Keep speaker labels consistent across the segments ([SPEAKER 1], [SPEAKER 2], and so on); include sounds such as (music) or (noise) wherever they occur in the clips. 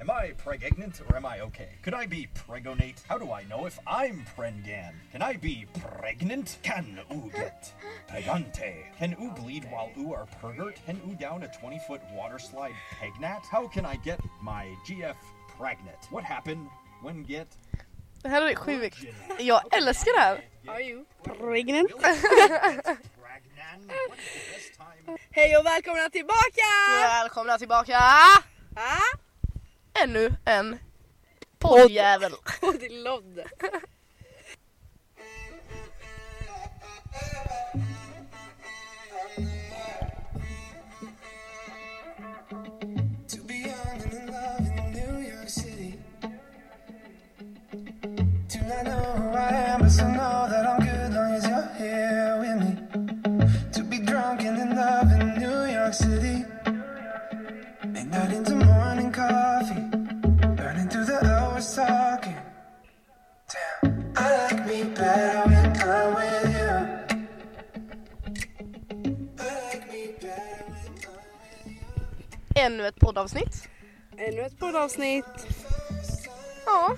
[SPEAKER 1] Am I pregnant or am I okay? Could I be pregonate? How do I know if I'm prengan? Can I be pregnant? Can oo get pegante? Can oo bleed while oo are pergert? Can oo down a 20 foot water slide pegnat? How can I get my GF pregnant? What happened when get
[SPEAKER 2] Det här är sjukt. Jag älskar det här.
[SPEAKER 3] Are you?
[SPEAKER 4] Pregnant.
[SPEAKER 1] pragnan? What is the best time?
[SPEAKER 4] Hej och välkomna tillbaka!
[SPEAKER 2] Välkomna tillbaka!
[SPEAKER 4] Ah,
[SPEAKER 2] Ännu en poddjävel.
[SPEAKER 3] Och det är Lodde.
[SPEAKER 5] To be young and in love in New York City. Do not know who I am, but still know that I'm good long as you're here with me. To be drunk and in love in New York City. Midnight into morning coffee. Burning through the hours talking. Damn. I like me better when I'm with you. I like me better when I'm with you.
[SPEAKER 2] Ännu ett poddavsnitt.
[SPEAKER 4] ännu ett poddavsnitt.
[SPEAKER 2] Ja.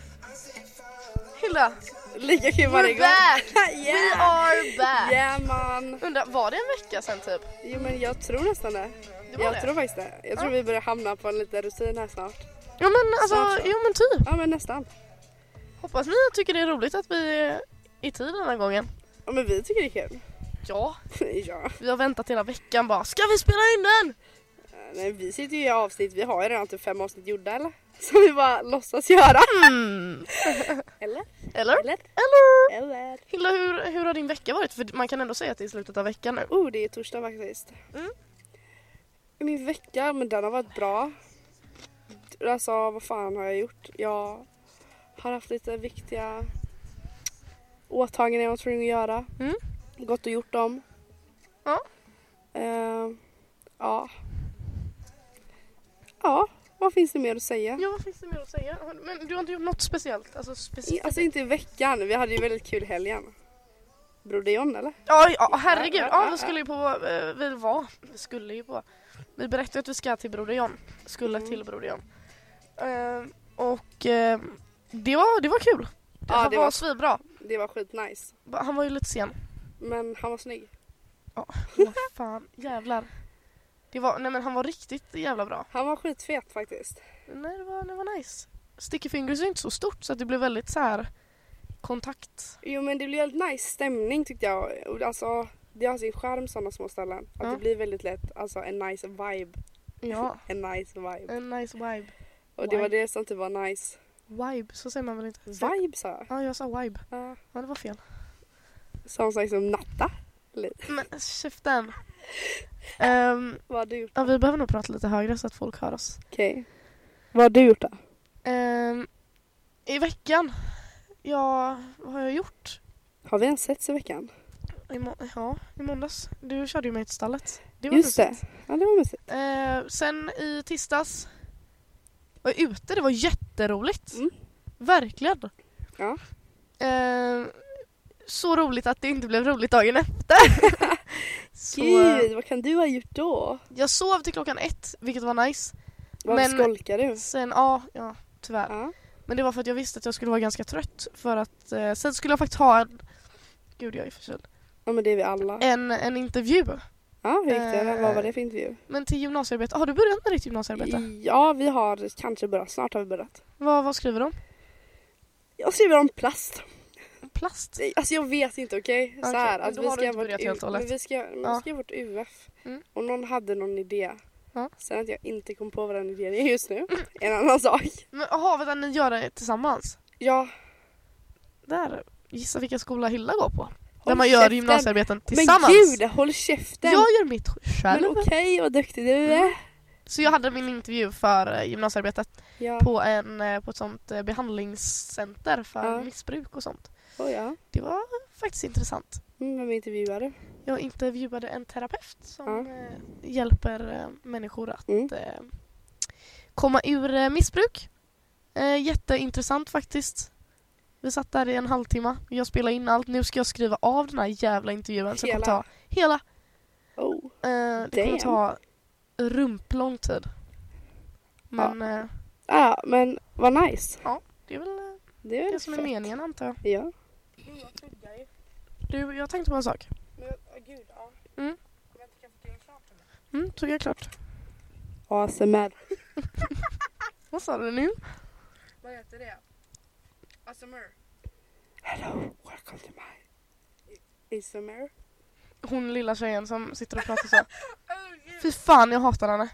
[SPEAKER 2] Hilda,
[SPEAKER 4] Lika kul varje
[SPEAKER 2] we're
[SPEAKER 4] gång. (laughs)
[SPEAKER 2] back! We
[SPEAKER 4] yeah.
[SPEAKER 2] are back!
[SPEAKER 4] Ah. yeah man.
[SPEAKER 2] Undrar, var det en vecka sen typ?
[SPEAKER 4] Jo men jag tror nästan det.
[SPEAKER 2] Det var
[SPEAKER 4] jag
[SPEAKER 2] det.
[SPEAKER 4] tror faktiskt det. Jag tror vi börjar hamna på en liten rutin här snart.
[SPEAKER 2] Ja men
[SPEAKER 4] Snart
[SPEAKER 2] alltså,
[SPEAKER 4] så.
[SPEAKER 2] jo men typ.
[SPEAKER 4] Ja men nästan.
[SPEAKER 2] Hoppas ni tycker det är roligt att vi är i tid den här gången.
[SPEAKER 4] Ja men vi tycker det är kul. (laughs)
[SPEAKER 2] Ja,
[SPEAKER 4] ja.
[SPEAKER 2] vi har väntat hela veckan bara. Ska vi spela in den?
[SPEAKER 4] Nej, vi sitter ju i avsnitt, vi har ju redan typ fem avsnitt gjorda eller? (laughs) Som vi bara låtsas göra.
[SPEAKER 2] Mm.
[SPEAKER 4] (laughs) Eller?
[SPEAKER 2] Eller?
[SPEAKER 4] Eller?
[SPEAKER 2] Eller?
[SPEAKER 4] Eller?
[SPEAKER 2] Hilda, hur, hur har din vecka varit? För man kan ändå säga att det är slutet av veckan nu.
[SPEAKER 4] Oh, det är torsdag faktiskt.
[SPEAKER 2] Mm.
[SPEAKER 4] Min vecka, men den har varit bra. Alltså vad fan har jag gjort? Jag har haft lite viktiga åtaganden jag var tvungen att göra.
[SPEAKER 2] Mm.
[SPEAKER 4] Gått och gjort dem.
[SPEAKER 2] Ja.
[SPEAKER 4] Eh, ja. Ja, vad finns det mer att säga?
[SPEAKER 2] Ja, vad finns det mer att säga? Har- Men du har inte gjort något speciellt? Alltså speciellt?
[SPEAKER 4] Alltså inte i veckan, vi hade ju väldigt kul helgen. Bror det är John eller?
[SPEAKER 2] Ja, ja herregud.
[SPEAKER 4] Ja, ja,
[SPEAKER 2] Ja,
[SPEAKER 4] ja.
[SPEAKER 2] vi skulle ju på... eh, Vi var... Vi skulle ju på... Vi berättade att vi ska till Broder John. Skulle
[SPEAKER 4] Mm.
[SPEAKER 2] till Broder John. Eh, och eh, det, var, det var kul.
[SPEAKER 4] Ja,
[SPEAKER 2] han
[SPEAKER 4] det
[SPEAKER 2] var
[SPEAKER 4] var-
[SPEAKER 2] svinbra.
[SPEAKER 4] Det var skitnice.
[SPEAKER 2] Ba- Han var ju lite
[SPEAKER 4] (laughs)
[SPEAKER 2] sen.
[SPEAKER 4] Men han var snygg.
[SPEAKER 2] Vad fan, jävlar. Det var, nej men han var riktigt jävla bra.
[SPEAKER 4] Han var skitfet faktiskt.
[SPEAKER 2] Nej, det var, det var nice. Sticky Fingers är inte så stort så att det blev väldigt så här kontakt.
[SPEAKER 4] Jo men det blir väldigt nice stämning tyckte jag. Och Alltså, det har sin charm sådana små ställen. Att
[SPEAKER 2] Ja.
[SPEAKER 4] det blir väldigt lätt alltså, en nice vibe.
[SPEAKER 2] Ja,
[SPEAKER 4] En nice vibe.
[SPEAKER 2] (laughs) en nice vibe.
[SPEAKER 4] Och det var
[SPEAKER 2] vibe.
[SPEAKER 4] det som typ var nice.
[SPEAKER 2] Vibe, så säger man väl inte? Så-
[SPEAKER 4] Vibe sa jag.
[SPEAKER 2] Ja, jag sa vibe.
[SPEAKER 4] Ja.
[SPEAKER 2] Ja, det var fel.
[SPEAKER 4] Som sagt som natta.
[SPEAKER 2] Men käften. Um,
[SPEAKER 4] Vad har du gjort?
[SPEAKER 2] ja, vi behöver nog prata lite högre så att folk hör oss.
[SPEAKER 4] Okej. Vad har du gjort då?
[SPEAKER 2] Ehm, I veckan, ja, vad har jag gjort?
[SPEAKER 4] Har vi ens setts i veckan?
[SPEAKER 2] I må- ja, i måndags. Du körde ju mig till stallet. Det var
[SPEAKER 4] Just det.
[SPEAKER 2] mysigt.
[SPEAKER 4] Ja det var mysigt.
[SPEAKER 2] Eh, sen i tisdags var jag ute. Det var jätteroligt.
[SPEAKER 4] Mm.
[SPEAKER 2] Verkligen.
[SPEAKER 4] Ja.
[SPEAKER 2] Eh, så roligt att det inte blev roligt dagen
[SPEAKER 4] (laughs)
[SPEAKER 2] efter. så,
[SPEAKER 4] Gud vad kan du ha gjort då?
[SPEAKER 2] jag sov till klockan ett, vilket var nice.
[SPEAKER 4] Varför
[SPEAKER 2] Men-
[SPEAKER 4] skolkar du?
[SPEAKER 2] Sen, ja, ja tyvärr.
[SPEAKER 4] Ja.
[SPEAKER 2] Men det var för att jag visste att jag skulle vara ganska trött. För att eh, sen skulle jag faktiskt ha en... Gud, jag är förkyld.
[SPEAKER 4] ja men det är vi alla.
[SPEAKER 2] En, en intervju.
[SPEAKER 4] Ja hur gick det?
[SPEAKER 2] Eh,
[SPEAKER 4] Vad var det för intervju?
[SPEAKER 2] Men till gymnasiearbete. Har du börjat med ditt gymnasiearbete?
[SPEAKER 4] Mm. Ja vi har kanske börjat. Snart har vi börjat.
[SPEAKER 2] Vad, vad skriver de?
[SPEAKER 4] Jag skriver om plast.
[SPEAKER 2] Plast?
[SPEAKER 4] Nej, Alltså jag vet inte okej.
[SPEAKER 2] Okej,
[SPEAKER 4] Så här,
[SPEAKER 2] men
[SPEAKER 4] alltså,
[SPEAKER 2] då har du
[SPEAKER 4] vi
[SPEAKER 2] inte
[SPEAKER 4] ska vårt
[SPEAKER 2] börjat
[SPEAKER 4] U-
[SPEAKER 2] helt och hållet.
[SPEAKER 4] Men vi ska, men
[SPEAKER 2] Ja.
[SPEAKER 4] vi ska vårt UF.
[SPEAKER 2] Mm.
[SPEAKER 4] Och någon hade någon idé.
[SPEAKER 2] Ja.
[SPEAKER 4] Sen att jag inte kom på vad den idén är
[SPEAKER 2] (laughs)
[SPEAKER 4] just nu. En annan sak.
[SPEAKER 2] Men jaha, vänta, ni gör det tillsammans?
[SPEAKER 4] Ja,
[SPEAKER 2] Där, gissa vilken skola Hilda går på? Där
[SPEAKER 4] Håll
[SPEAKER 2] man gör
[SPEAKER 4] käften.
[SPEAKER 2] gymnasiearbeten
[SPEAKER 4] men
[SPEAKER 2] tillsammans.
[SPEAKER 4] gud håll käften.
[SPEAKER 2] jag gör Mm. mitt
[SPEAKER 4] men
[SPEAKER 2] själv.
[SPEAKER 4] okej vad duktig du är.
[SPEAKER 2] Så jag hade min intervju för eh, gymnasiearbetet
[SPEAKER 4] Ja.
[SPEAKER 2] på, en, eh, på ett sånt eh, behandlingscenter för
[SPEAKER 4] Ja.
[SPEAKER 2] missbruk och sånt.
[SPEAKER 4] Oh, ja.
[SPEAKER 2] Det var faktiskt intressant.
[SPEAKER 4] Mm, vem intervjuar du?
[SPEAKER 2] Jag intervjuade en terapeut som
[SPEAKER 4] Ja.
[SPEAKER 2] eh, hjälper eh, människor att
[SPEAKER 4] Mm.
[SPEAKER 2] eh, komma ur eh, missbruk. Eh, jätteintressant faktiskt. Vi satt där i en halvtimme. Jag spelade in allt. Nu ska jag skriva av den här jävla intervjun. Så det kommer
[SPEAKER 4] Hela?
[SPEAKER 2] ta hela.
[SPEAKER 4] Oh.
[SPEAKER 2] Eh, det kommer
[SPEAKER 4] Damn.
[SPEAKER 2] ta rumplång tid. Men eh,
[SPEAKER 4] Ja, men vad nice.
[SPEAKER 2] Ja, det är väl eh,
[SPEAKER 4] Det är väl
[SPEAKER 2] det som är
[SPEAKER 4] fett.
[SPEAKER 2] meningen antar jag.
[SPEAKER 4] Ja.
[SPEAKER 2] Du, jag tänkte på en sak. Mm. Mm, tog jag klart.
[SPEAKER 4] ASMR.
[SPEAKER 2] Vad sa du nu?
[SPEAKER 4] Vad heter det? ASMR. Hello, welcome to my ASMR.
[SPEAKER 2] Hon lilla tjejen som sitter och pratar så. här. Fy fan, jag hatar henne.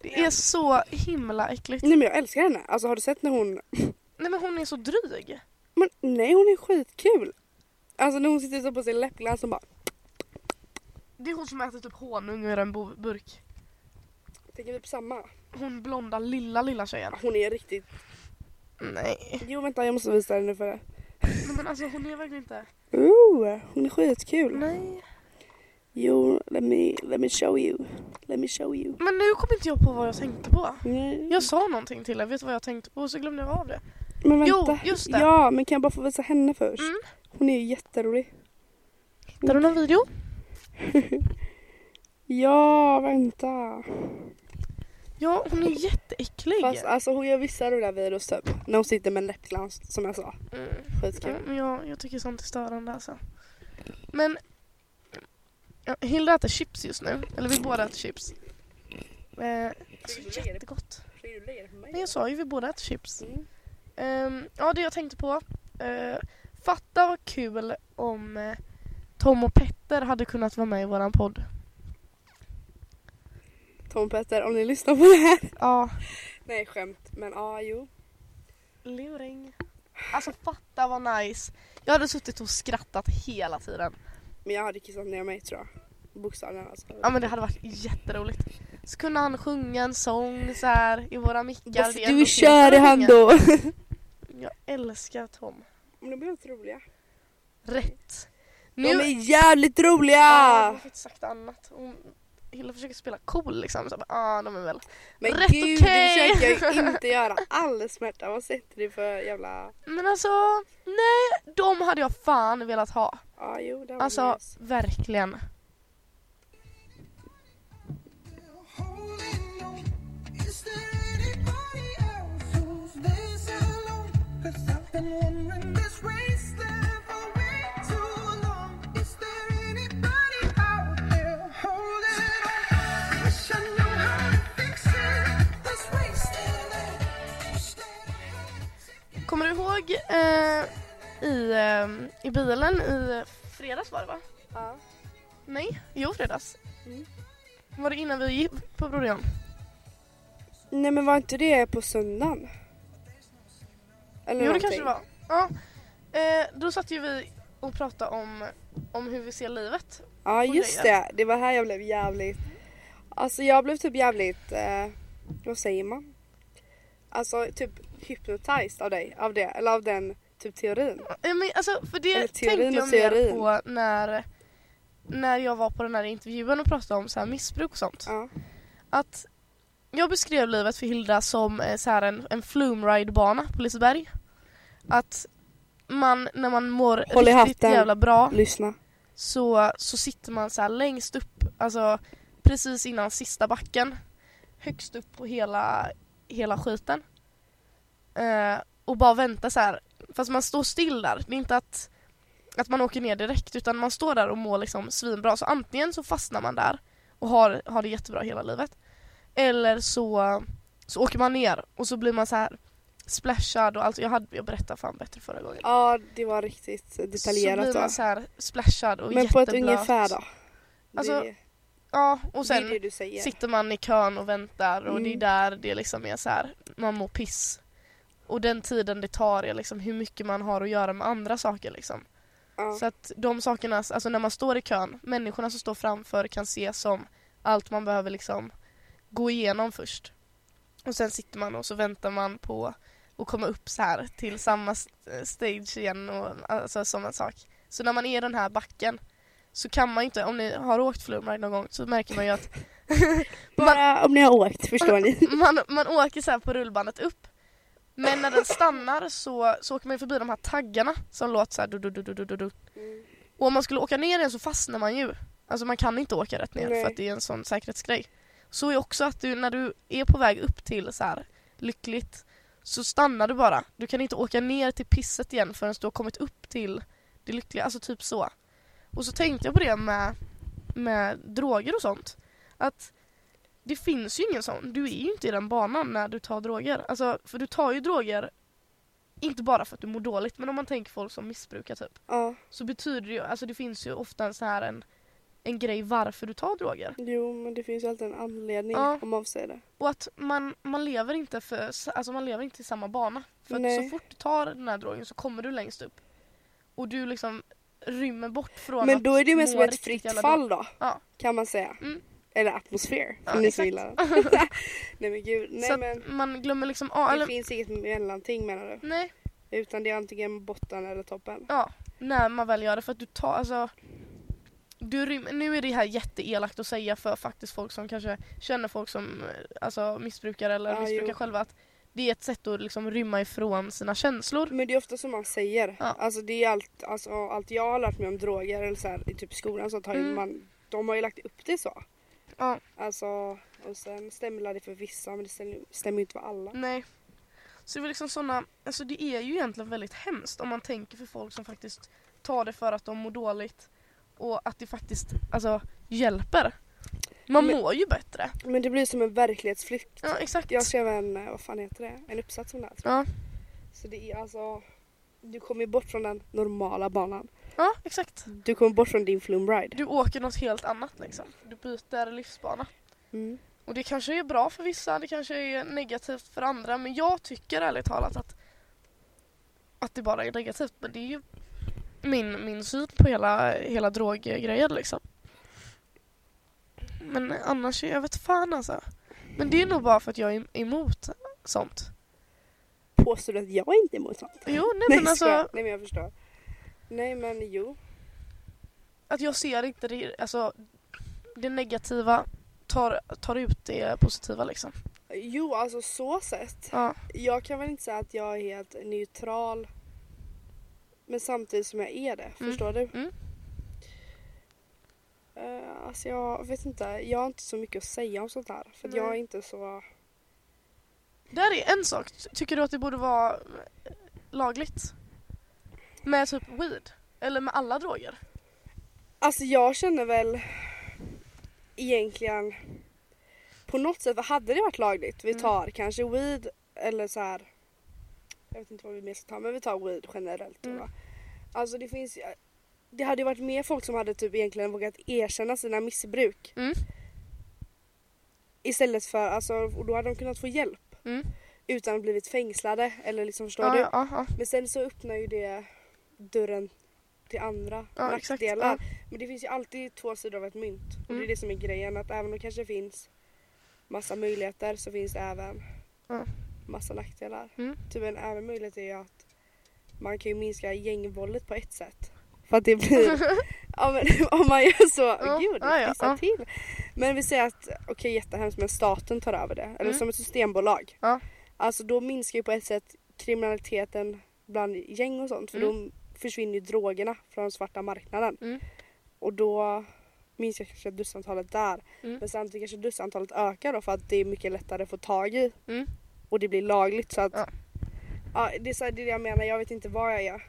[SPEAKER 2] Det är så himla äckligt.
[SPEAKER 4] Nej men jag älskar henne. Alltså har du sett när hon...
[SPEAKER 2] Nej men hon är så dryg.
[SPEAKER 4] Men nej hon är skitkul. Alltså när hon sitter så på sin läppglans och bara...
[SPEAKER 2] Det är hon som äter typ honung ur en bo- burk.
[SPEAKER 4] Tänker vi på samma? Ah,
[SPEAKER 2] Hon blonda lilla lilla tjejen.
[SPEAKER 4] Hon är riktigt...
[SPEAKER 2] Nej.
[SPEAKER 4] Jo vänta jag måste visa dig nu för det.
[SPEAKER 2] Nej men alltså hon är verkligen inte...
[SPEAKER 4] Ooh, hon är skitkul.
[SPEAKER 2] Nej.
[SPEAKER 4] Jo, let me, let me show you. Let me show you. Mm,
[SPEAKER 2] Men nu kom inte jag på vad jag tänkte på.
[SPEAKER 4] Nej.
[SPEAKER 2] Jag sa någonting till er, vet du vad jag tänkte på? Så glömde jag av det.
[SPEAKER 4] Men
[SPEAKER 2] Jo,
[SPEAKER 4] vänta.
[SPEAKER 2] just det.
[SPEAKER 4] Ja, men kan jag bara få visa henne först?
[SPEAKER 2] Mm.
[SPEAKER 4] Hon är ju jätterolig.
[SPEAKER 2] Hittar du någon video?
[SPEAKER 4] Ja, vänta.
[SPEAKER 2] Ja, hon är jätteäcklig.
[SPEAKER 4] Fast alltså hon gör vissa roliga videos typ. När hon sitter med en läppglans som jag sa.
[SPEAKER 2] Mm. Ja,
[SPEAKER 4] Skitkul.
[SPEAKER 2] men jag, jag tycker sånt är störande alltså. Men ja, Hilda äter chips just nu. Eller vi båda äter chips. Eh, så jättegott. Nej, jag sa ju vi båda äter chips.
[SPEAKER 4] Mm.
[SPEAKER 2] Ehm, ja, det jag tänkte på. Eh, fatta vad kul om eh, Tom och Petter hade kunnat vara med i våran podd.
[SPEAKER 4] Tom och Petter, om ni lyssnar på det här. (laughs)
[SPEAKER 2] Ja,
[SPEAKER 4] Nej, skämt. Men ja, ah, jo.
[SPEAKER 2] luring. Alltså fatta vad nice. Jag hade suttit och skrattat hela tiden.
[SPEAKER 4] Men jag hade kissat ner mig tror jag. Bokstavligen alltså.
[SPEAKER 2] Ja men det hade varit jätteroligt. Så kunde han sjunga en sång så här i våra mickar.
[SPEAKER 4] Varför
[SPEAKER 2] Det är
[SPEAKER 4] du
[SPEAKER 2] ändå
[SPEAKER 4] kör i
[SPEAKER 2] fel att
[SPEAKER 4] hand
[SPEAKER 2] sjunga.
[SPEAKER 4] då? (laughs)
[SPEAKER 2] Jag älskar Tom.
[SPEAKER 4] Men de är väldigt roliga.
[SPEAKER 2] Rätt.
[SPEAKER 4] De är jävligt roliga!
[SPEAKER 2] Jag har inte sagt annat. Hon, Hilda försöker spela cool liksom. Så bara, ah, de är väl...
[SPEAKER 4] Men
[SPEAKER 2] Rätt
[SPEAKER 4] gud,
[SPEAKER 2] okej.
[SPEAKER 4] det försöker
[SPEAKER 2] (laughs)
[SPEAKER 4] jag ju inte göra alls Märta. Vad sätter du för jävla...
[SPEAKER 2] Men alltså, nej, de hade jag fan velat ha.
[SPEAKER 4] Ja, ah, jo, det var
[SPEAKER 2] Alltså,
[SPEAKER 4] nice.
[SPEAKER 2] verkligen.
[SPEAKER 5] Holding on. Is there anybody else who's this alone? Cause I've been wandering this wasteland for way too long. Is there anybody out there holding on? Wish I knew how to fix it. This wasteland. Wish that I had a ticket.
[SPEAKER 2] Kommer du ihåg eh, i, eh, i bilen i fredags var det va?
[SPEAKER 4] Ja.
[SPEAKER 2] Nej, jo fredags.
[SPEAKER 4] Mm.
[SPEAKER 2] Var det innan vi gick på Brodeon?
[SPEAKER 4] Nej men var inte det på söndagen? Eller
[SPEAKER 2] Jo det
[SPEAKER 4] någonting.
[SPEAKER 2] kanske det var. Ja. Eh, då satt ju vi och pratade om, om hur vi ser livet.
[SPEAKER 4] Ja just det, det var här jag blev jävligt... Alltså jag blev typ jävligt... Eh, vad säger man? Alltså typ hypnotized av dig, av det, eller av den typ teorin.
[SPEAKER 2] Eh, men alltså, för det
[SPEAKER 4] Eller teorin
[SPEAKER 2] tänkte
[SPEAKER 4] och
[SPEAKER 2] jag
[SPEAKER 4] teorin.
[SPEAKER 2] mer på när, när jag var på den här intervjun och pratade om så här missbruk och sånt.
[SPEAKER 4] Ja.
[SPEAKER 2] att jag beskrev livet för Hilda som eh, så här en, en flumride-bana på Liseberg. Att man, när man mår
[SPEAKER 4] Håll i
[SPEAKER 2] riktigt
[SPEAKER 4] hatten.
[SPEAKER 2] jävla bra
[SPEAKER 4] Lyssna.
[SPEAKER 2] så, så sitter man så här längst upp, alltså precis innan sista backen. Högst upp på hela, hela skiten. Eh, och bara väntar så här. Fast man står still där. Det är inte att, att man åker ner direkt utan man står där och mår liksom svinbra. Så antingen så fastnar man där och har, har det jättebra hela livet. Eller så, så åker man ner och så blir man så här splashad och allt. Jag, hade, jag berättade fan bättre förra gången.
[SPEAKER 4] Ja det var riktigt
[SPEAKER 2] så
[SPEAKER 4] detaljerat
[SPEAKER 2] blir
[SPEAKER 4] då.
[SPEAKER 2] man så här splashad och
[SPEAKER 4] Men på ett
[SPEAKER 2] jätteblöt.
[SPEAKER 4] ungefär då.
[SPEAKER 2] Alltså,
[SPEAKER 4] det,
[SPEAKER 2] Ja, och
[SPEAKER 4] det
[SPEAKER 2] sen
[SPEAKER 4] är det du säger.
[SPEAKER 2] sitter man i kön och väntar och
[SPEAKER 4] Mm.
[SPEAKER 2] det är där det liksom är så här, man mår piss. Och den tiden det tar är liksom hur mycket man har att göra med andra saker liksom.
[SPEAKER 4] Ja.
[SPEAKER 2] Så att de sakerna, alltså när man står i kön, människorna som står framför kan se som allt man behöver liksom gå igenom först. Och sen sitter man och så väntar man på att komma upp så här till samma s- stage igen och alltså sådana sak. Så när man är i den här backen så kan man ju inte, om ni har åkt flumride någon gång så märker man ju
[SPEAKER 4] (laughs)
[SPEAKER 2] att
[SPEAKER 4] Bara om ni har
[SPEAKER 2] (laughs)
[SPEAKER 4] åkt, förstår ni?
[SPEAKER 2] man, man åker så här på rullbandet upp. Men när den stannar så, så åker man ju förbi de här taggarna som låter så här du, du, du, du, du, du, du. Och om man skulle åka ner den så fastnar man ju. Alltså man kan inte åka rätt ner
[SPEAKER 4] Nej.
[SPEAKER 2] för att det är en sån säkerhetsgrej. Så är också att du när du är på väg upp till så här lyckligt så stannar du bara. Du kan inte åka ner till pisset igen förrän du har kommit upp till det lyckliga, alltså typ så. Och så tänkte jag på det med, med droger och sånt. Att det finns ju ingen sån, du är ju inte i den banan när du tar droger. Alltså, för du tar ju droger inte bara för att du mår dåligt men om man tänker folk som missbrukar typ.
[SPEAKER 4] Ja,
[SPEAKER 2] Så betyder det ju, alltså det finns ju ofta en sån här en, en grej varför du tar droger.
[SPEAKER 4] jo men det finns ju alltid en anledning
[SPEAKER 2] Ja.
[SPEAKER 4] om man säger det.
[SPEAKER 2] Och att man, man lever inte för, alltså man lever inte i samma bana. För att
[SPEAKER 4] Nej.
[SPEAKER 2] så fort du tar den här drogen så kommer du längst upp. Och du liksom rymmer bort från
[SPEAKER 4] Men
[SPEAKER 2] att
[SPEAKER 4] då är det ju mer
[SPEAKER 2] må
[SPEAKER 4] som ett
[SPEAKER 2] riktigt
[SPEAKER 4] fritt
[SPEAKER 2] jävla
[SPEAKER 4] fall då,
[SPEAKER 2] Ja.
[SPEAKER 4] kan man säga.
[SPEAKER 2] Mm.
[SPEAKER 4] Eller atmosfär,
[SPEAKER 2] Ja,
[SPEAKER 4] om ni så
[SPEAKER 2] exakt. (laughs)
[SPEAKER 4] gillar den. nej men gud,
[SPEAKER 2] dåligt. Så
[SPEAKER 4] nej
[SPEAKER 2] att
[SPEAKER 4] men.
[SPEAKER 2] man glömmer liksom, ja,
[SPEAKER 4] Det
[SPEAKER 2] eller,
[SPEAKER 4] finns inget mellanting menar du?
[SPEAKER 2] nej,
[SPEAKER 4] Utan det är antingen botten eller toppen.
[SPEAKER 2] ja, när man väl gör det för att du tar, alltså du rymmer, nu är det här jätteelakt att säga för faktiskt folk som kanske känner folk som eh, alltså, missbrukar eller
[SPEAKER 4] Ja,
[SPEAKER 2] missbrukar
[SPEAKER 4] jo.
[SPEAKER 2] själva att det är ett sätt att liksom rymma ifrån sina känslor.
[SPEAKER 4] Men det är ofta som man säger.
[SPEAKER 2] Ja.
[SPEAKER 4] Alltså det är allt, alltså, allt jag har lärt mig om droger eller så här, i typ skolan så tar ju
[SPEAKER 2] Mm.
[SPEAKER 4] man, de har ju lagt upp det så.
[SPEAKER 2] Ja.
[SPEAKER 4] Alltså, och sen stämmer det för vissa men det stämmer stämmer ju inte för alla.
[SPEAKER 2] Nej. Så det var liksom såna, alltså det är ju egentligen väldigt hemskt om man tänker för folk som faktiskt tar det för att de mår dåligt och att det faktiskt alltså, hjälper. Man
[SPEAKER 4] Men-
[SPEAKER 2] mår ju bättre.
[SPEAKER 4] Men det blir som en verklighetsflykt.
[SPEAKER 2] Ja, exakt.
[SPEAKER 4] Jag skrev en, eh, vad fan heter det, en uppsats om det här. tror jag.
[SPEAKER 2] Ja,
[SPEAKER 4] Så det är alltså, du kommer ju bort från den normala banan.
[SPEAKER 2] ja, exakt.
[SPEAKER 4] Du kommer bort från din flumride.
[SPEAKER 2] Du åker något helt annat liksom. Du byter livsbana.
[SPEAKER 4] Mm.
[SPEAKER 2] Och det kanske är bra för vissa, det kanske är negativt för andra men jag tycker ärligt talat att, att det bara är negativt men det är ju min, min syn på hela, hela droggrejen liksom. Men annars, är jag vet fan alltså. Men det är nog bara för att jag är emot sånt.
[SPEAKER 4] Påstår du att jag inte är emot sånt?
[SPEAKER 2] Jo, nej
[SPEAKER 4] Nej,
[SPEAKER 2] men
[SPEAKER 4] skojar.
[SPEAKER 2] alltså
[SPEAKER 4] nej men jag förstår. Nej men jo.
[SPEAKER 2] att jag ser inte det, alltså det negativa tar, tar ut det positiva liksom.
[SPEAKER 4] Jo alltså så sett.
[SPEAKER 2] Ja,
[SPEAKER 4] Jag kan väl inte säga att jag är helt neutral. Men samtidigt som jag är det.
[SPEAKER 2] Mm.
[SPEAKER 4] Förstår du?
[SPEAKER 2] Mm.
[SPEAKER 4] Eh, alltså jag vet inte. Jag har inte så mycket att säga om sånt här. För att
[SPEAKER 2] Nej.
[SPEAKER 4] jag är inte så...
[SPEAKER 2] Där är en sak. Ty- Tycker du att det borde vara eh, lagligt? Med typ weed? Eller med alla droger?
[SPEAKER 4] Alltså jag känner väl egentligen på något sätt, vad hade det varit lagligt? Vi
[SPEAKER 2] Mm.
[SPEAKER 4] tar kanske weed eller så här. Jag vet inte vad vi mer ska ta men vi tar weed generellt.
[SPEAKER 2] Mm.
[SPEAKER 4] Mm. Alltså det finns ju- Det hade ju varit mer folk som hade typ egentligen vågat erkänna sina missbruk.
[SPEAKER 2] Mm.
[SPEAKER 4] Istället för, alltså, och då hade de kunnat få hjälp.
[SPEAKER 2] Mm.
[SPEAKER 4] Utan att blivit fängslade eller liksom förstår
[SPEAKER 2] Ja,
[SPEAKER 4] du?
[SPEAKER 2] ja, ja.
[SPEAKER 4] Men sen så öppnar ju det dörren till andra
[SPEAKER 2] Ja, exakt.
[SPEAKER 4] nackdelar.
[SPEAKER 2] Ja.
[SPEAKER 4] Men det finns ju alltid två sidor av ett mynt. Och det
[SPEAKER 2] Mm.
[SPEAKER 4] är det som är grejen. Att även om det kanske finns massa möjligheter så finns det även
[SPEAKER 2] Ja.
[SPEAKER 4] massa nackdelar.
[SPEAKER 2] Mm.
[SPEAKER 4] Typ en även möjlighet är ju att man kan ju minska gängvåldet på ett sätt. För att
[SPEAKER 2] (laughs)
[SPEAKER 4] det blir... ja, men, (laughs) om man gör så...
[SPEAKER 2] Ja,
[SPEAKER 4] Gud,
[SPEAKER 2] ja, ja,
[SPEAKER 4] det pissar
[SPEAKER 2] ja.
[SPEAKER 4] till. Men vi säger att, okej jättehemskt men staten tar över det. Eller
[SPEAKER 2] Mm.
[SPEAKER 4] som ett systembolag.
[SPEAKER 2] Ja.
[SPEAKER 4] Alltså då minskar ju på ett sätt kriminaliteten bland gäng och sånt. För då försvinner ju drogerna från den svarta marknaden.
[SPEAKER 2] Mm.
[SPEAKER 4] Och då minskar kanske dussintalet där.
[SPEAKER 2] Mm.
[SPEAKER 4] Men samtidigt kanske dussintalet ökar då för att det är mycket lättare att få tag i.
[SPEAKER 2] Mm.
[SPEAKER 4] Och det blir lagligt så att...
[SPEAKER 2] Ja.
[SPEAKER 4] Ja. det, är så här, det är det jag menar, jag vet inte vad jag är.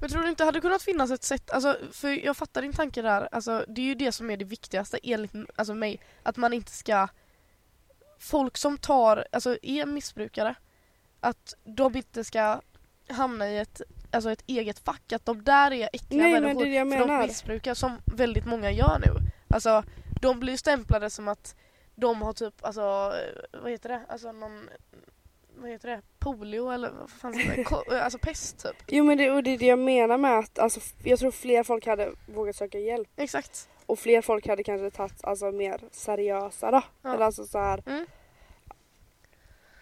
[SPEAKER 2] Men tror du inte det hade kunnat finnas ett sätt, alltså, för jag fattar din tanke där, alltså, det är ju det som är det viktigaste enligt m- alltså, mig, att man inte ska, folk som tar, alltså är missbrukare, att de inte ska hamna i ett, alltså, ett eget fack, att de där är äckliga
[SPEAKER 4] Nej, men
[SPEAKER 2] människor
[SPEAKER 4] det är det jag
[SPEAKER 2] för de
[SPEAKER 4] menar.
[SPEAKER 2] missbrukar, som väldigt många gör nu. Alltså, de blir ju stämplade som att de har typ, alltså, eh, vad heter det, alltså någon, vad heter det, polio eller vad fan heter det, Ko- alltså pest typ.
[SPEAKER 4] Jo men det, och det är det jag menar med att alltså, jag tror fler folk hade vågat söka hjälp.
[SPEAKER 2] Exakt.
[SPEAKER 4] Och fler folk hade kanske tagit alltså, mer seriösa då.
[SPEAKER 2] Ja.
[SPEAKER 4] Eller alltså så här.
[SPEAKER 2] Mm.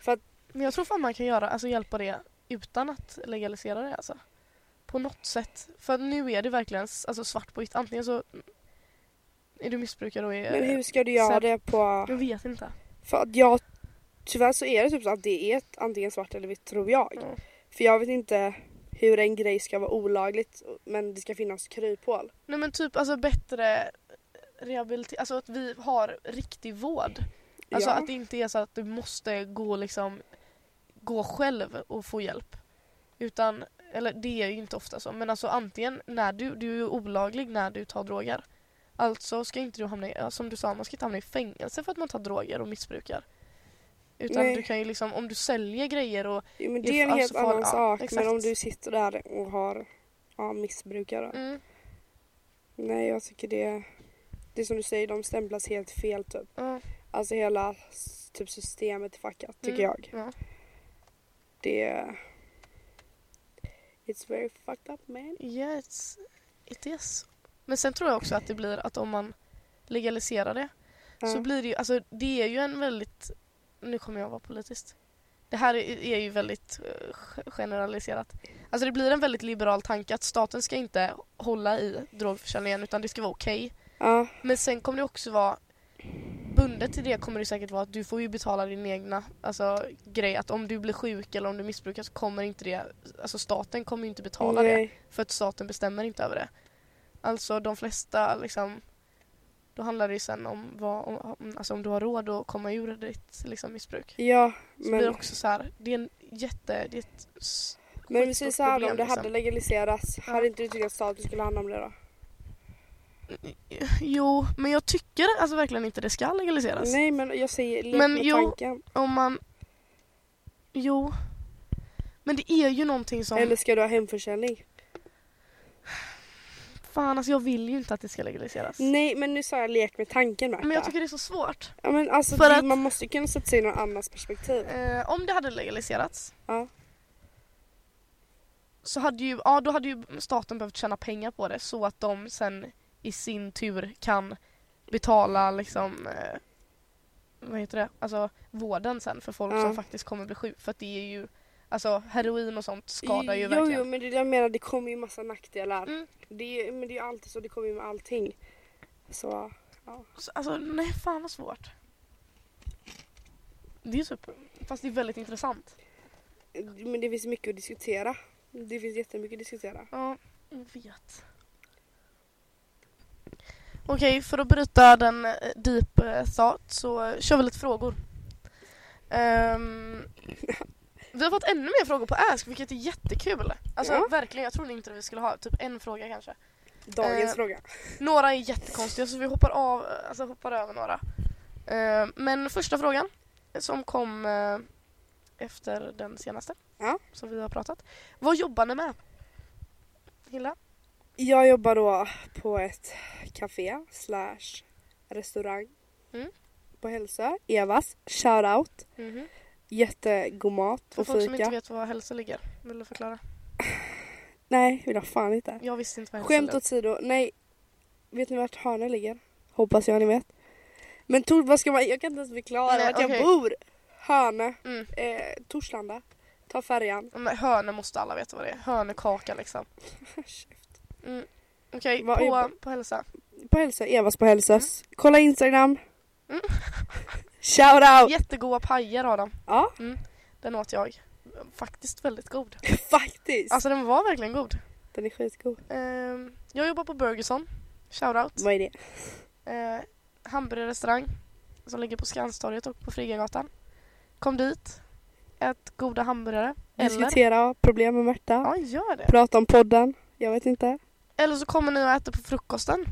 [SPEAKER 4] För att,
[SPEAKER 2] Men jag tror fan man kan göra, alltså hjälpa det utan att legalisera det alltså. På något sätt. För att nu är det verkligen s- alltså, svart på vitt. Antingen så är du missbrukare och är...
[SPEAKER 4] men hur ska du göra
[SPEAKER 2] Sen-
[SPEAKER 4] det på...
[SPEAKER 2] Jag vet inte.
[SPEAKER 4] För att jag... Tyvärr så är det typ så att det är ett, antingen svart eller vitt tror jag.
[SPEAKER 2] Ja.
[SPEAKER 4] För jag vet inte hur en grej ska vara olagligt men det ska finnas kryphål.
[SPEAKER 2] Nej men typ alltså bättre rehabilitering, alltså att vi har riktig vård. Alltså
[SPEAKER 4] Ja.
[SPEAKER 2] att det inte är så att du måste gå liksom gå själv och få hjälp. Utan, eller det är ju inte ofta så, men alltså antingen när du, du är ju olaglig när du tar droger. Alltså ska inte du hamna i, ja, som du sa, man ska inte hamna i fängelse för att man tar droger och missbrukar. Utan
[SPEAKER 4] Nej.
[SPEAKER 2] du kan ju liksom, om du säljer grejer och
[SPEAKER 4] Jo, men
[SPEAKER 2] Det är
[SPEAKER 4] det är en
[SPEAKER 2] alltså
[SPEAKER 4] helt
[SPEAKER 2] farligt.
[SPEAKER 4] annan
[SPEAKER 2] Ja,
[SPEAKER 4] sak.
[SPEAKER 2] exakt.
[SPEAKER 4] Men om du sitter där och har ja, missbrukare.
[SPEAKER 2] mm,
[SPEAKER 4] Nej, jag tycker det... Det är som du säger, de stämplas helt fel typ.
[SPEAKER 2] ja,
[SPEAKER 4] Alltså hela s- typ, systemet är fuckat, tycker
[SPEAKER 2] Mm.
[SPEAKER 4] jag.
[SPEAKER 2] ja.
[SPEAKER 4] Det... It's very fucked up man.
[SPEAKER 2] Yes, it is. Men sen tror jag också att det blir att om man legaliserar det så
[SPEAKER 4] Ja.
[SPEAKER 2] blir det ju, alltså det är ju en väldigt, nu kommer jag vara politiskt. Det här är är ju väldigt eh, ge- generaliserat. Alltså det blir en väldigt liberal tanke att staten ska inte hålla i drogförsäljningen utan det ska vara okej.
[SPEAKER 4] Ja,
[SPEAKER 2] Men sen kommer det också vara bundet till det kommer det säkert vara att du får ju betala din egna alltså, grej att om du blir sjuk eller om du missbrukar så kommer inte det, alltså staten kommer ju inte betala det.
[SPEAKER 4] nej.
[SPEAKER 2] För att staten bestämmer inte över det. Alltså de flesta liksom då handlar det ju sen om, vad, om, om, alltså, om du har råd att komma ur ditt liksom, missbruk.
[SPEAKER 4] Ja,
[SPEAKER 2] Så blir det
[SPEAKER 4] men,
[SPEAKER 2] också så här, det är en jätte, det är ett s-
[SPEAKER 4] men vi
[SPEAKER 2] skitstort
[SPEAKER 4] säger så här då,
[SPEAKER 2] problem,
[SPEAKER 4] om det
[SPEAKER 2] liksom.
[SPEAKER 4] hade legaliserats,
[SPEAKER 2] Ja.
[SPEAKER 4] hade inte du tyckt att staten skulle handla om det då?
[SPEAKER 2] liksom. (laughs) Jo, men jag tycker alltså verkligen inte det ska legaliseras.
[SPEAKER 4] Nej, men jag säger, lek
[SPEAKER 2] Men
[SPEAKER 4] med
[SPEAKER 2] jo,
[SPEAKER 4] tanken.
[SPEAKER 2] Om man... Jo. Men det är ju någonting som...
[SPEAKER 4] Eller ska du ha hemförsäljning?
[SPEAKER 2] Fan alltså jag vill ju inte att det ska legaliseras.
[SPEAKER 4] Nej, men nu sa jag lek med tanken Märta.
[SPEAKER 2] Men jag tycker det är så svårt.
[SPEAKER 4] ja, men alltså,
[SPEAKER 2] För
[SPEAKER 4] det,
[SPEAKER 2] att-
[SPEAKER 4] Man måste ju kunna sätta sig i någon annans perspektiv.
[SPEAKER 2] Eh, om det hade legaliserats
[SPEAKER 4] Ja.
[SPEAKER 2] så hade ju, ja, då hade ju staten behövt tjäna pengar på det så att de sen i sin tur kan betala liksom eh, vad heter det? Alltså vården sen för folk
[SPEAKER 4] Ja.
[SPEAKER 2] som faktiskt kommer bli sjuka för att det är ju alltså heroin och sånt skadar ju
[SPEAKER 4] jo,
[SPEAKER 2] verkligen.
[SPEAKER 4] Jo, men det är det jag menar det kommer ju massa nackdelar.
[SPEAKER 2] Mm.
[SPEAKER 4] Det är, men det är ju alltid så, det kommer ju med allting. Så
[SPEAKER 2] Så, Alltså nej fan vad svårt. Det är typ, fast det är väldigt intressant.
[SPEAKER 4] men det finns mycket att diskutera. Det finns jättemycket att diskutera.
[SPEAKER 2] Ja, jag vet. Okej, för att bryta den eh, deep eh, thought så eh, kör vi lite frågor. Ehm, vi har fått ännu mer frågor på Ask vilket är jättekul. Alltså
[SPEAKER 4] Ja.
[SPEAKER 2] verkligen, jag trodde inte vi skulle ha typ en fråga kanske.
[SPEAKER 4] Dagens
[SPEAKER 2] Eh,
[SPEAKER 4] fråga.
[SPEAKER 2] Några är jättekonstiga så vi hoppar, av, eh, alltså, hoppar över några. Ehm, men första frågan eh, som kom eh, efter den senaste
[SPEAKER 4] Ja.
[SPEAKER 2] som vi har pratat. Vad jobbar ni med? Hilla?
[SPEAKER 4] Jag jobbar då på ett café slash restaurang
[SPEAKER 2] Mm.
[SPEAKER 4] på Hälsö. Evas, shoutout.
[SPEAKER 2] Mhm.
[SPEAKER 4] Jättegod mat
[SPEAKER 2] För
[SPEAKER 4] och
[SPEAKER 2] folk som inte
[SPEAKER 4] fika.
[SPEAKER 2] vet var hälsa ligger, vill du förklara?
[SPEAKER 4] Nej, vill jag fan inte.
[SPEAKER 2] Jag visste inte vad hälsa
[SPEAKER 4] Skämt
[SPEAKER 2] låg.
[SPEAKER 4] åsido, nej. Vet ni vart Hane ligger? Hoppas jag ni vet. Men Tor, vad ska man, jag kan inte ens förklara
[SPEAKER 2] Nej,
[SPEAKER 4] vart
[SPEAKER 2] okej.
[SPEAKER 4] jag bor. Hane,
[SPEAKER 2] Mm.
[SPEAKER 4] eh, Torslanda. Ta färjan. (laughs)
[SPEAKER 2] Men hönor måste alla veta vad det är, hönekaka liksom. Mm. Okej,
[SPEAKER 4] Vad
[SPEAKER 2] på,
[SPEAKER 4] jobbar-
[SPEAKER 2] på hälsa.
[SPEAKER 4] På Hälsö, Evas på Hälsös. Kolla Instagram.
[SPEAKER 2] Mm.
[SPEAKER 4] (laughs) Shout out!
[SPEAKER 2] Jättegoda pajer har de,
[SPEAKER 4] Ja,
[SPEAKER 2] den åt jag. Faktiskt väldigt god.
[SPEAKER 4] faktiskt.
[SPEAKER 2] Alltså den var verkligen god.
[SPEAKER 4] Den är skitgod.
[SPEAKER 2] Ehm, jag jobbar på Burgerson, shoutout.
[SPEAKER 4] Vad är det?
[SPEAKER 2] Eh, hamburgerrestaurang som ligger på Skanstorget och på Friggagatan. Kom dit, ät goda hamburgare. Eller,
[SPEAKER 4] Diskutera problem med Märta.
[SPEAKER 2] ja gör det.
[SPEAKER 4] Prata om podden. Jag vet inte.
[SPEAKER 2] Eller så kommer ni och äter på frukosten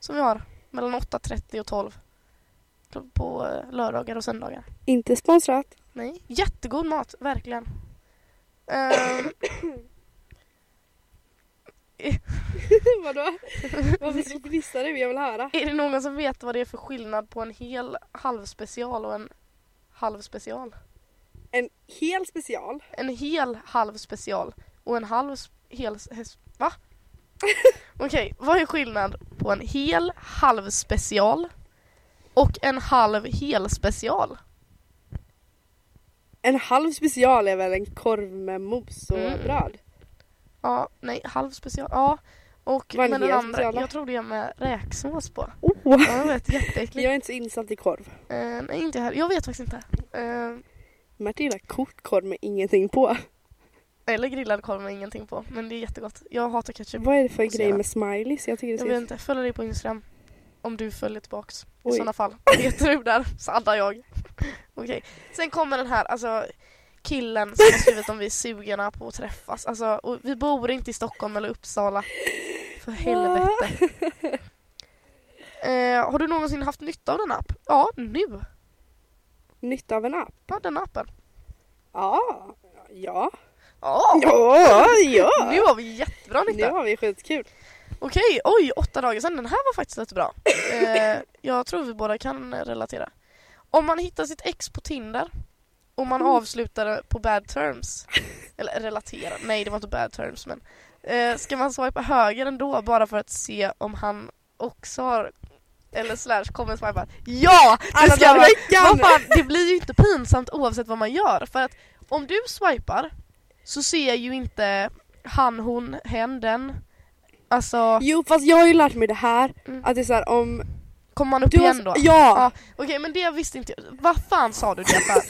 [SPEAKER 2] som vi har mellan 8.30 och 12 på- på eh, lördagar och söndagar. (laughs)
[SPEAKER 4] Inte sponsrat.
[SPEAKER 2] Nej, jättegod mat, verkligen. Ehm, (clears throat)
[SPEAKER 4] (laughs) Vadå? Varför gnisslar du? Jag vill höra.
[SPEAKER 2] är det någon som vet vad det är för skillnad på en hel halvspecial och en halv special?
[SPEAKER 4] En hel special.
[SPEAKER 2] En hel halv special och en halv s- hel... s- hes- Va? Okej, vad är skillnad på en hel halv special och en halv hel special?
[SPEAKER 4] En halv special är väl en korv med mos och
[SPEAKER 2] Mm.
[SPEAKER 4] bröd?
[SPEAKER 2] Ja, nej, halv special. Ja. Och,
[SPEAKER 4] Vad är
[SPEAKER 2] men
[SPEAKER 4] det
[SPEAKER 2] den andra,
[SPEAKER 4] speciella?
[SPEAKER 2] jag tror det är med räksås på.
[SPEAKER 4] Oh.
[SPEAKER 2] Ja, jag vet, jätteäckligt.
[SPEAKER 4] (laughs) Jag är inte så insatt i korv.
[SPEAKER 2] Eh, nej, inte här. Jag vet faktiskt inte. Eh,
[SPEAKER 4] Märta gillar kokt korv med ingenting på.
[SPEAKER 2] eller grillad korv med ingenting på, men det är jättegott. Jag hatar ketchup.
[SPEAKER 4] Vad är det för
[SPEAKER 2] Får se
[SPEAKER 4] grej
[SPEAKER 2] då.
[SPEAKER 4] med smileys? Jag tycker det
[SPEAKER 2] Jag vet
[SPEAKER 4] ser...
[SPEAKER 2] inte, följ dig på Instagram. Om du följer tillbaks. I
[SPEAKER 4] Oj.
[SPEAKER 2] (laughs) sådana fall. Vet du där så addar jag. Okej. Sen kommer den här, alltså killen som har skrivit om vi är sugna på att träffas. Alltså, och vi bor inte i Stockholm eller Uppsala. För helvete. Eh, har du någonsin haft nytta av den app? Ja, nu.
[SPEAKER 4] Ah, Nytta av en app?
[SPEAKER 2] Ja, den appen.
[SPEAKER 4] Ja. Ja.
[SPEAKER 2] Ja,
[SPEAKER 4] Ja, ja.
[SPEAKER 2] nu har vi jättebra
[SPEAKER 4] Nu
[SPEAKER 2] nytta.
[SPEAKER 4] har vi skitkul.
[SPEAKER 2] Okej, oj, åtta dagar sedan. Den här var faktiskt lite bra. Eh, jag tror vi båda kan relatera. Om man hittar sitt ex på Tinder och
[SPEAKER 4] Mm.
[SPEAKER 2] man avslutar det på bad terms, eller relatera, nej det var inte bad terms men eh, ska man swipa höger ändå bara för att se om han också har eller slash kommer swipa Ja! Det
[SPEAKER 4] Alla
[SPEAKER 2] ska
[SPEAKER 4] dagar
[SPEAKER 2] man!
[SPEAKER 4] i veckan!
[SPEAKER 2] Vad fan, det blir ju inte pinsamt oavsett vad man gör för att om du swipar så ser ju inte han, hon, hen, den Alltså,
[SPEAKER 4] Jo fast jag har ju lärt mig det här.
[SPEAKER 2] Mm.
[SPEAKER 4] Att det är såhär om...
[SPEAKER 2] kommer man upp
[SPEAKER 4] Du
[SPEAKER 2] igen då?
[SPEAKER 4] har... Ja!
[SPEAKER 2] Ja, Okej men det visste inte jag, vad fan sa du det för?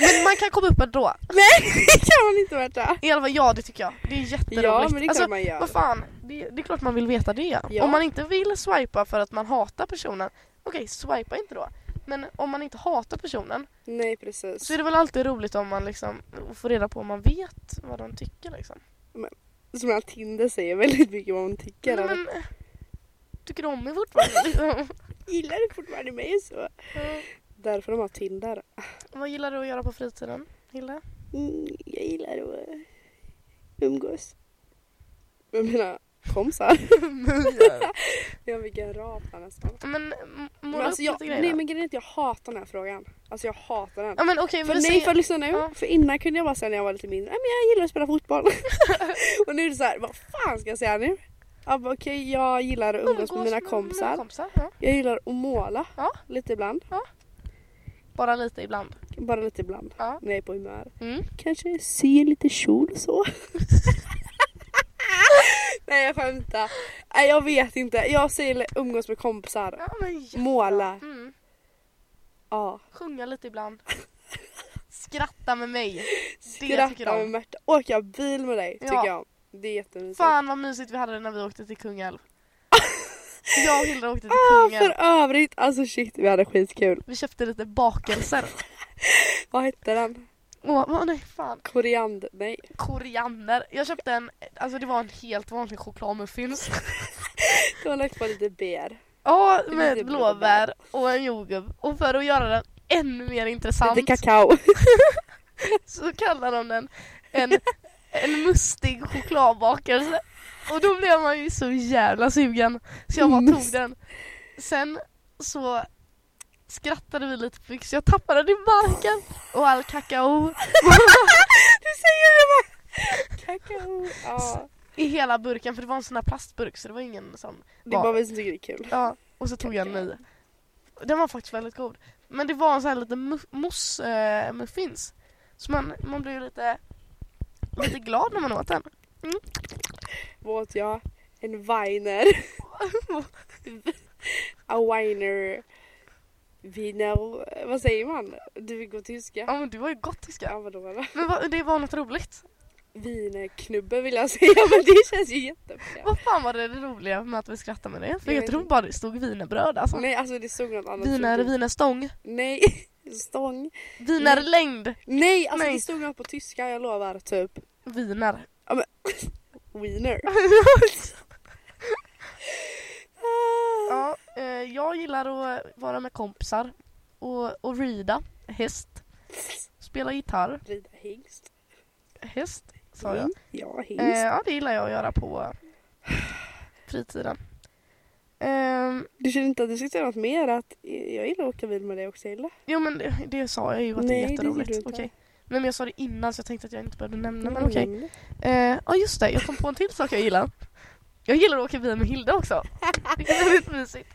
[SPEAKER 2] Men man kan komma upp ändå.
[SPEAKER 4] Nej det kan man inte värta.
[SPEAKER 2] I alla fall ja det tycker jag, det är jätteroligt.
[SPEAKER 4] Ja men det kan
[SPEAKER 2] alltså,
[SPEAKER 4] man göra.
[SPEAKER 2] vad fan, det, det är klart man vill veta det.
[SPEAKER 4] Ja.
[SPEAKER 2] Om man inte vill swipa för att man hatar personen, okej swipa inte då. Men om man inte hatar personen
[SPEAKER 4] Nej precis.
[SPEAKER 2] så är det väl alltid roligt om man liksom får reda på om man vet vad de tycker liksom.
[SPEAKER 4] Som att Tinder säger väldigt mycket vad man tycker.
[SPEAKER 2] Nej,
[SPEAKER 4] eller?
[SPEAKER 2] men, eh, tycker de mig fortfarande (laughs) liksom?
[SPEAKER 4] Gillar du fortfarande mig så? Därför de har Tinder.
[SPEAKER 2] Vad gillar du att göra på fritiden, Hilda?
[SPEAKER 4] Mm, jag gillar att eh, umgås. Med mina kompisar. (laughs) jag fick en rap här nästan.
[SPEAKER 2] Men m- måla
[SPEAKER 4] Men alltså
[SPEAKER 2] upp
[SPEAKER 4] jag,
[SPEAKER 2] lite grejer då.
[SPEAKER 4] nej men grejen är att jag hatar den här frågan. Alltså jag hatar den.
[SPEAKER 2] Ja men okej,
[SPEAKER 4] För
[SPEAKER 2] vi
[SPEAKER 4] nej,
[SPEAKER 2] säger...
[SPEAKER 4] för lyssna nu.
[SPEAKER 2] Ja.
[SPEAKER 4] För innan kunde jag bara säga när jag var lite mindre, "Nej, men jag gillar att
[SPEAKER 2] (laughs)
[SPEAKER 4] spela fotboll. och nu är det så här, vad fan ska jag säga nu? Ja, bara, Okej, jag gillar att umgås med mina kompisar.
[SPEAKER 2] ja.
[SPEAKER 4] Jag gillar att måla
[SPEAKER 2] Ja.
[SPEAKER 4] lite ibland.
[SPEAKER 2] Bara lite ibland.
[SPEAKER 4] Bara lite ibland.
[SPEAKER 2] Ja.
[SPEAKER 4] När jag är på humör.
[SPEAKER 2] Mm.
[SPEAKER 4] Kanske sy lite kjol och
[SPEAKER 2] (laughs)
[SPEAKER 4] så. nej jag skämtar. Nej jag vet inte. Jag säger umgås med kompisar.
[SPEAKER 2] Ja, men jättebra.
[SPEAKER 4] Måla.
[SPEAKER 2] Mm.
[SPEAKER 4] Ja.
[SPEAKER 2] Sjunga lite
[SPEAKER 4] (laughs)
[SPEAKER 2] ibland. Skratta med mig. Det tycker
[SPEAKER 4] Skratta med
[SPEAKER 2] de.
[SPEAKER 4] Märta. Åka bil med dig tycker
[SPEAKER 2] Ja.
[SPEAKER 4] jag. Det är jättemysigt.
[SPEAKER 2] Fan vad mysigt vi hade det när vi åkte till
[SPEAKER 4] (laughs)
[SPEAKER 2] Kungälv. Jag och Hilda åkte till
[SPEAKER 4] Ah,
[SPEAKER 2] Kungälv.
[SPEAKER 4] för övrigt, alltså shit vi hade skitkul.
[SPEAKER 2] Vi köpte lite bakelser.
[SPEAKER 4] Vad hette den?
[SPEAKER 2] Åh, vad- nej fan.
[SPEAKER 4] Koriander? Nej.
[SPEAKER 2] Koriander. Jag köpte en, alltså det var en helt vanlig
[SPEAKER 4] (laughs)
[SPEAKER 2] chokladmuffins.
[SPEAKER 4] Det var lagt på lite bär.
[SPEAKER 2] Ja,
[SPEAKER 4] Det är
[SPEAKER 2] med
[SPEAKER 4] lite blåbär.
[SPEAKER 2] blåbär och en jordgubb. Och för att göra den ännu mer intressant
[SPEAKER 4] Lite kakao.
[SPEAKER 2] så kallar de den en, en mustig chokladbakelse. Och då blev man ju så jävla sugen så jag bara tog
[SPEAKER 4] Must-
[SPEAKER 2] den. Sen så skrattade vi lite för mycket så jag tappade den i marken och all kakao
[SPEAKER 4] (laughs) du säger det bara! Kakao. Ja.
[SPEAKER 2] i hela burken för det var en sån där plastburk så det var ingen sån.
[SPEAKER 4] Det är bara vi som tycker det är kul.
[SPEAKER 2] Ja, och så tog jag en ny. Den var faktiskt väldigt god. Men det var en sån här liten mu- mousse eh, muffins. Så man, man blev ju lite, lite glad när man åt den.
[SPEAKER 4] Vad åt jag? En viner. (laughs) A winer. Viner. Vad säger man? Du vill gå tyska?
[SPEAKER 2] Ja men du var ju gott tyska.
[SPEAKER 4] Ja vadå vadå?
[SPEAKER 2] Men va, det var något roligt.
[SPEAKER 4] Vinerknubbe vill jag säga men det känns ju jättefel.
[SPEAKER 2] Vad fan var det roliga med att vi skrattade med det? För
[SPEAKER 4] Jag
[SPEAKER 2] jag
[SPEAKER 4] vet
[SPEAKER 2] tror
[SPEAKER 4] inte.
[SPEAKER 2] bara det stod wienerbröd alltså.
[SPEAKER 4] Nej alltså det stod något annat.
[SPEAKER 2] Wiener, wienerstång.
[SPEAKER 4] Nej. (laughs) Stång.
[SPEAKER 2] Wienerlängd.
[SPEAKER 4] Nej alltså
[SPEAKER 2] Nej.
[SPEAKER 4] det stod något på tyska jag lovar typ.
[SPEAKER 2] Wiener.
[SPEAKER 4] (laughs) Wiener.
[SPEAKER 2] (laughs) Ja, eh, jag gillar att eh, vara med kompisar och, och rida häst. Spela gitarr,
[SPEAKER 4] Rida hingst.
[SPEAKER 2] häst sa jag.
[SPEAKER 4] Mm, Ja, hingst.
[SPEAKER 2] Eh, ja, det gillar jag att göra på eh, fritiden. Ehm,
[SPEAKER 4] Du känner inte att du ska säga något mer? Att eh, jag gillar att åka bil med dig också Hilda.
[SPEAKER 2] jo men det, det sa jag ju att
[SPEAKER 4] Nej,
[SPEAKER 2] det
[SPEAKER 4] det
[SPEAKER 2] är
[SPEAKER 4] gjorde
[SPEAKER 2] jätteroligt.
[SPEAKER 4] du inte.
[SPEAKER 2] Okej. Nej men jag sa det innan så jag tänkte att jag inte behövde nämna men okej.
[SPEAKER 4] Mm.
[SPEAKER 2] Eh, Ja just det, jag kom på en till sak jag gillar. Jag gillar att åka bil med Hilda
[SPEAKER 4] (laughs)
[SPEAKER 2] också. Det är väldigt mysigt.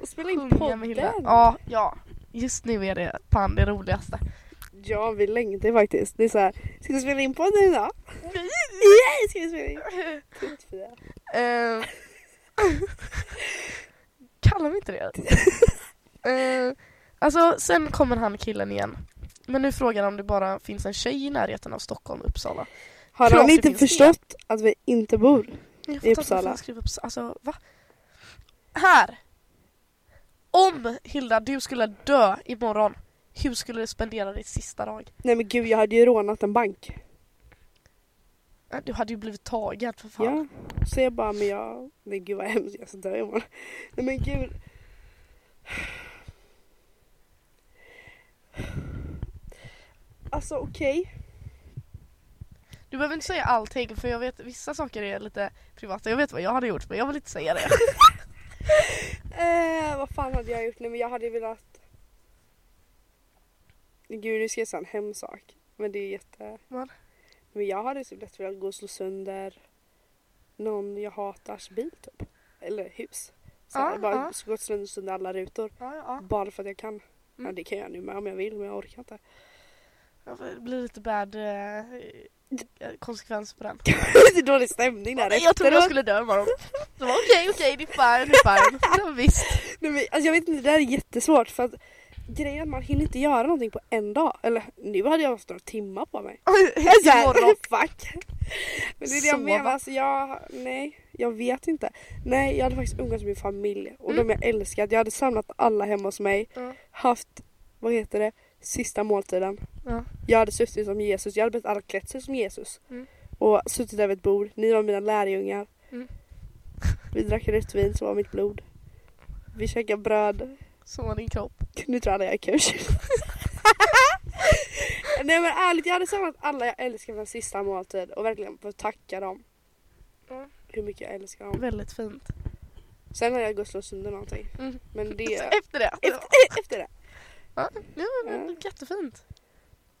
[SPEAKER 4] Och spela in
[SPEAKER 2] Sjunga
[SPEAKER 4] podden.
[SPEAKER 2] med Hilda. Ja, ja. Just nu är det fan det roligaste.
[SPEAKER 4] ja, vi längtar faktiskt. Det är så här, ska vi spela in podden idag? Nej, ska vi spela in? Tuttfia.
[SPEAKER 2] Eh, (laughs) Kallar vi inte det? Eh, Alltså, sen kommer han killen igen. Men nu frågar han om det bara finns en tjej i närheten av Stockholm och Uppsala.
[SPEAKER 4] Har
[SPEAKER 2] Klart
[SPEAKER 4] han
[SPEAKER 2] det
[SPEAKER 4] inte
[SPEAKER 2] finns det.
[SPEAKER 4] förstått att vi inte bor?
[SPEAKER 2] Jag fattar inte varför
[SPEAKER 4] Uppsala.
[SPEAKER 2] han skriver Upps- Alltså, va? Här! Om Hilda, du skulle dö imorgon. Hur skulle du spendera din sista dag?
[SPEAKER 4] Nej men gud jag hade ju rånat en bank.
[SPEAKER 2] Eh, Du hade ju blivit tagen för fan.
[SPEAKER 4] Ja. Så jag bara men jag, nej gud vad hemskt jag ska dö imorgon. Nej men gud. Alltså okej.
[SPEAKER 2] Du behöver inte säga allting för jag vet vissa saker är lite privata. Jag vet vad jag hade gjort men jag vill inte säga det.
[SPEAKER 4] Eh, vad fan hade jag gjort? Nej men jag hade velat... Gud nu ska jag säga en hemsk sak. Men det är jätte...
[SPEAKER 2] Vad?
[SPEAKER 4] Men jag hade typ lätt velat gå och slå sönder någon jag hatars bil typ. Eller hus. Så
[SPEAKER 2] Ja,
[SPEAKER 4] jag bara
[SPEAKER 2] ja.
[SPEAKER 4] gått sönder, sönder alla rutor.
[SPEAKER 2] (laughs) Ja, ja. Mm.
[SPEAKER 4] Bara för att jag kan. Ja, det kan jag nu med om jag vill men jag orkar inte. (laughs)
[SPEAKER 2] Det blir lite bad eh, konsekvenser på den.
[SPEAKER 4] det är dålig stämning där
[SPEAKER 2] jag trodde jag
[SPEAKER 4] efteråt.
[SPEAKER 2] skulle dö imorgon. Så bara, Okej, okej, (laughs) det är fine, det är (laughs) fine. Ja, visst.
[SPEAKER 4] Nej, men, alltså, jag vet inte, det där är jättesvårt för att grejen är att man hinner inte göra någonting på en dag. Eller nu hade jag haft några timmar på mig. Så här,
[SPEAKER 2] Imorgon.
[SPEAKER 4] fuck.
[SPEAKER 2] (laughs)
[SPEAKER 4] Men det är det jag
[SPEAKER 2] Sova.
[SPEAKER 4] menar. Alltså jag, nej, jag vet inte. Nej, jag hade faktiskt umgåtts med min familj och de jag älskat. Jag hade samlat alla hemma hos mig.
[SPEAKER 2] Mm. Ja.
[SPEAKER 4] Haft, vad heter det, sista måltiden.
[SPEAKER 2] Ja.
[SPEAKER 4] Jag hade suttit som Jesus. Jag hade bett alla klätt sig som Jesus.
[SPEAKER 2] Mm.
[SPEAKER 4] Och suttit där vid ett bord. Ni var mina lärjungar.
[SPEAKER 2] Mm.
[SPEAKER 4] Vi drack rött vin som var mitt blod. Vi käkade bröd.
[SPEAKER 2] Så din kropp.
[SPEAKER 4] Nu tror alla jag är kurs.
[SPEAKER 2] (laughs)
[SPEAKER 4] Nej men ärligt, jag hade samlat alla jag älskar för en sista måltid och verkligen fått tacka dem.
[SPEAKER 2] Mm.
[SPEAKER 4] Hur mycket jag älskar dem.
[SPEAKER 2] Väldigt fint.
[SPEAKER 4] Sen hade jag gått och slå sönder någonting.
[SPEAKER 2] Mm.
[SPEAKER 4] Men det...
[SPEAKER 2] Så (laughs) efter Mm. det.
[SPEAKER 4] efter det.
[SPEAKER 2] Ja, ja, men, jättefint.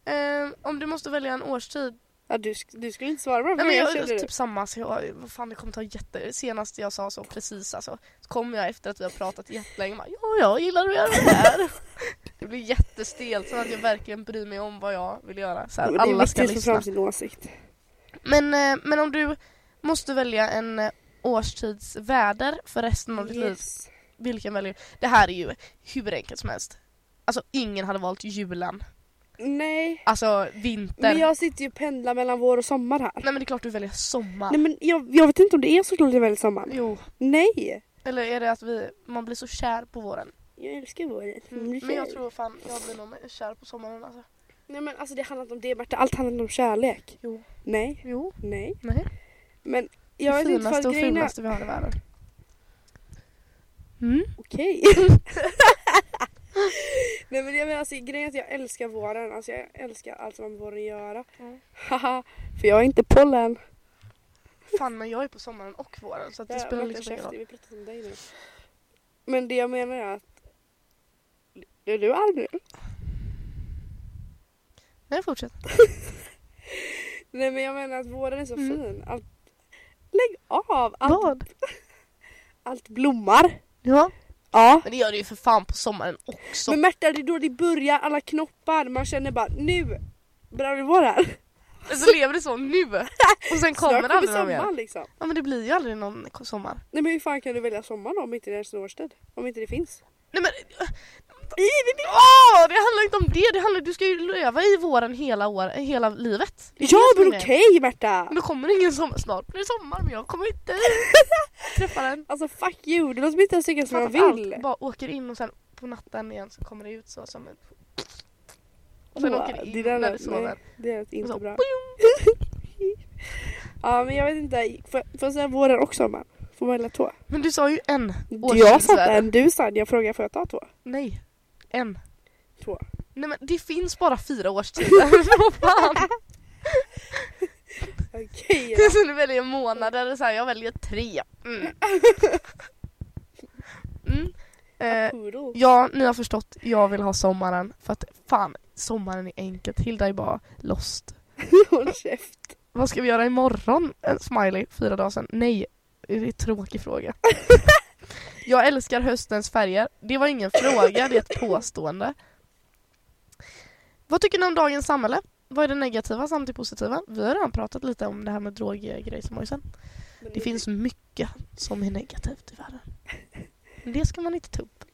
[SPEAKER 2] Ehm, om du måste välja en årstid.
[SPEAKER 4] Ja, du, sk- du skulle inte svara på det
[SPEAKER 2] Nej,
[SPEAKER 4] men
[SPEAKER 2] men
[SPEAKER 4] jag
[SPEAKER 2] jag
[SPEAKER 4] kände
[SPEAKER 2] är
[SPEAKER 4] det.
[SPEAKER 2] typ samma. Så jag, vad fan, det kommer ta jätte... Senast jag sa så precis alltså, så kom jag efter att vi har pratat jättelänge. Bara, ja, jag gillar att göra det här. (laughs) Det blir jättestelt så att jag verkligen bryr mig om vad jag vill göra. Så
[SPEAKER 4] Ja,
[SPEAKER 2] här,
[SPEAKER 4] men det är
[SPEAKER 2] alla ska
[SPEAKER 4] viktigt att få
[SPEAKER 2] lyssna.
[SPEAKER 4] fram sin åsikt.
[SPEAKER 2] Men, eh, men om du måste välja en eh, årstidsväder för resten av ditt liv,
[SPEAKER 4] Yes.
[SPEAKER 2] vilken väljer du? Det här är ju hur enkelt som helst. Alltså ingen hade valt julen.
[SPEAKER 4] Nej.
[SPEAKER 2] Alltså vinter.
[SPEAKER 4] Men jag sitter ju och pendlar mellan vår och sommar här.
[SPEAKER 2] Nej men det är klart du väljer sommar.
[SPEAKER 4] Nej men jag, jag vet inte om det är så klart jag väljer sommaren.
[SPEAKER 2] Jo.
[SPEAKER 4] Nej!
[SPEAKER 2] Eller är det att vi, man blir så kär på våren?
[SPEAKER 4] Jag älskar våren.
[SPEAKER 2] Mm, Men jag tror fan jag blir nog mer kär på sommaren alltså.
[SPEAKER 4] Nej men alltså det handlar inte om det Marta, allt handlar om kärlek.
[SPEAKER 2] Jo.
[SPEAKER 4] Nej,
[SPEAKER 2] Jo.
[SPEAKER 4] nej.
[SPEAKER 2] Nej.
[SPEAKER 4] Men jag vet
[SPEAKER 2] det
[SPEAKER 4] inte
[SPEAKER 2] finaste
[SPEAKER 4] för
[SPEAKER 2] och
[SPEAKER 4] grejen är...
[SPEAKER 2] fulaste vi har i världen. Mm. (laughs)
[SPEAKER 4] Okej. nej men jag menar alltså grejen är att jag älskar våren. Alltså jag älskar allt som har med våren att göra.
[SPEAKER 2] Mm.
[SPEAKER 4] Haha, för jag är inte pollen.
[SPEAKER 2] Fan men jag är på sommaren och våren så att det
[SPEAKER 4] Ja,
[SPEAKER 2] spelar
[SPEAKER 4] Marta,
[SPEAKER 2] liksom ingen
[SPEAKER 4] käften,
[SPEAKER 2] roll.
[SPEAKER 4] Vi pratar om dig nu. Men det jag menar är att... Är du arg nu?
[SPEAKER 2] Nej fortsätt.
[SPEAKER 4] Nej men jag menar att våren är så
[SPEAKER 2] Mm.
[SPEAKER 4] fin. Allt... Lägg av! Allt,
[SPEAKER 2] Vad?
[SPEAKER 4] (laughs) allt blommar.
[SPEAKER 2] Ja.
[SPEAKER 4] Ja.
[SPEAKER 2] Men det gör det ju för fan på sommaren också.
[SPEAKER 4] Men Märta det är då det börjar, alla knoppar, man känner bara nu börjar vi vara här.
[SPEAKER 2] Så Alltså, lever det så
[SPEAKER 4] (laughs)
[SPEAKER 2] nu. Och sen kommer
[SPEAKER 4] Snart
[SPEAKER 2] det aldrig någon mer.
[SPEAKER 4] sommaren liksom.
[SPEAKER 2] Ja men det blir ju aldrig någon sommar.
[SPEAKER 4] Nej men hur fan kan du välja sommaren om inte det är en årstid? Om inte det finns?
[SPEAKER 2] Nej men... Åh, det handlar inte om det. det handlar, du ska ju leva i våren hela, år, hela livet. Det är
[SPEAKER 4] Ja
[SPEAKER 2] det som
[SPEAKER 4] men
[SPEAKER 2] är grejen.
[SPEAKER 4] okej Märta!
[SPEAKER 2] Men det kommer ingen sommar. Snart blir det sommar men jag kommer
[SPEAKER 4] (laughs)
[SPEAKER 2] inte träffa den.
[SPEAKER 4] Alltså fuck you, det låter mig inte ens tycka som
[SPEAKER 2] För
[SPEAKER 4] man
[SPEAKER 2] att
[SPEAKER 4] vill.
[SPEAKER 2] Allt bara åker in och sen på natten igen så kommer det ut så som en... Och sen
[SPEAKER 4] Åh,
[SPEAKER 2] åker det in
[SPEAKER 4] där
[SPEAKER 2] när
[SPEAKER 4] lät-
[SPEAKER 2] du sover. Alltså,
[SPEAKER 4] nej, det lät
[SPEAKER 2] Och
[SPEAKER 4] inte
[SPEAKER 2] så,
[SPEAKER 4] bra. Ja men jag vet inte, får, får jag säga våren och sommaren? Får man välja två?
[SPEAKER 2] Men du sa ju en
[SPEAKER 4] Jag
[SPEAKER 2] årstidsvärde.
[SPEAKER 4] sa inte en, du sa en. Jag frågade får jag ta två?
[SPEAKER 2] Nej, en.
[SPEAKER 4] Två.
[SPEAKER 2] Nej men det finns bara fyra
[SPEAKER 4] (laughs)
[SPEAKER 2] årstider. Vad fan? (laughs)
[SPEAKER 4] Okej
[SPEAKER 2] Det är som du väljer månader, eller så här, jag väljer tre.
[SPEAKER 4] (laughs)
[SPEAKER 2] Mm. Mm. Eh,
[SPEAKER 4] då.
[SPEAKER 2] ja, ni har förstått. Jag vill ha sommaren. För att fan, sommaren är enkelt. Hilda är bara lost.
[SPEAKER 4] Håll käft.
[SPEAKER 2] Vad ska vi göra imorgon? En smiley, fyra dagar sedan. Nej, det är en tråkig fråga. (laughs) jag älskar höstens färger. Det var ingen fråga, det är ett påstående. Vad tycker ni om dagens samhälle? Vad är det negativa samt det positiva? Vi har redan pratat lite om det här med droggrejsimojsen.
[SPEAKER 4] Men
[SPEAKER 2] Det finns mycket som är negativt i världen. Men det ska man inte ta upp.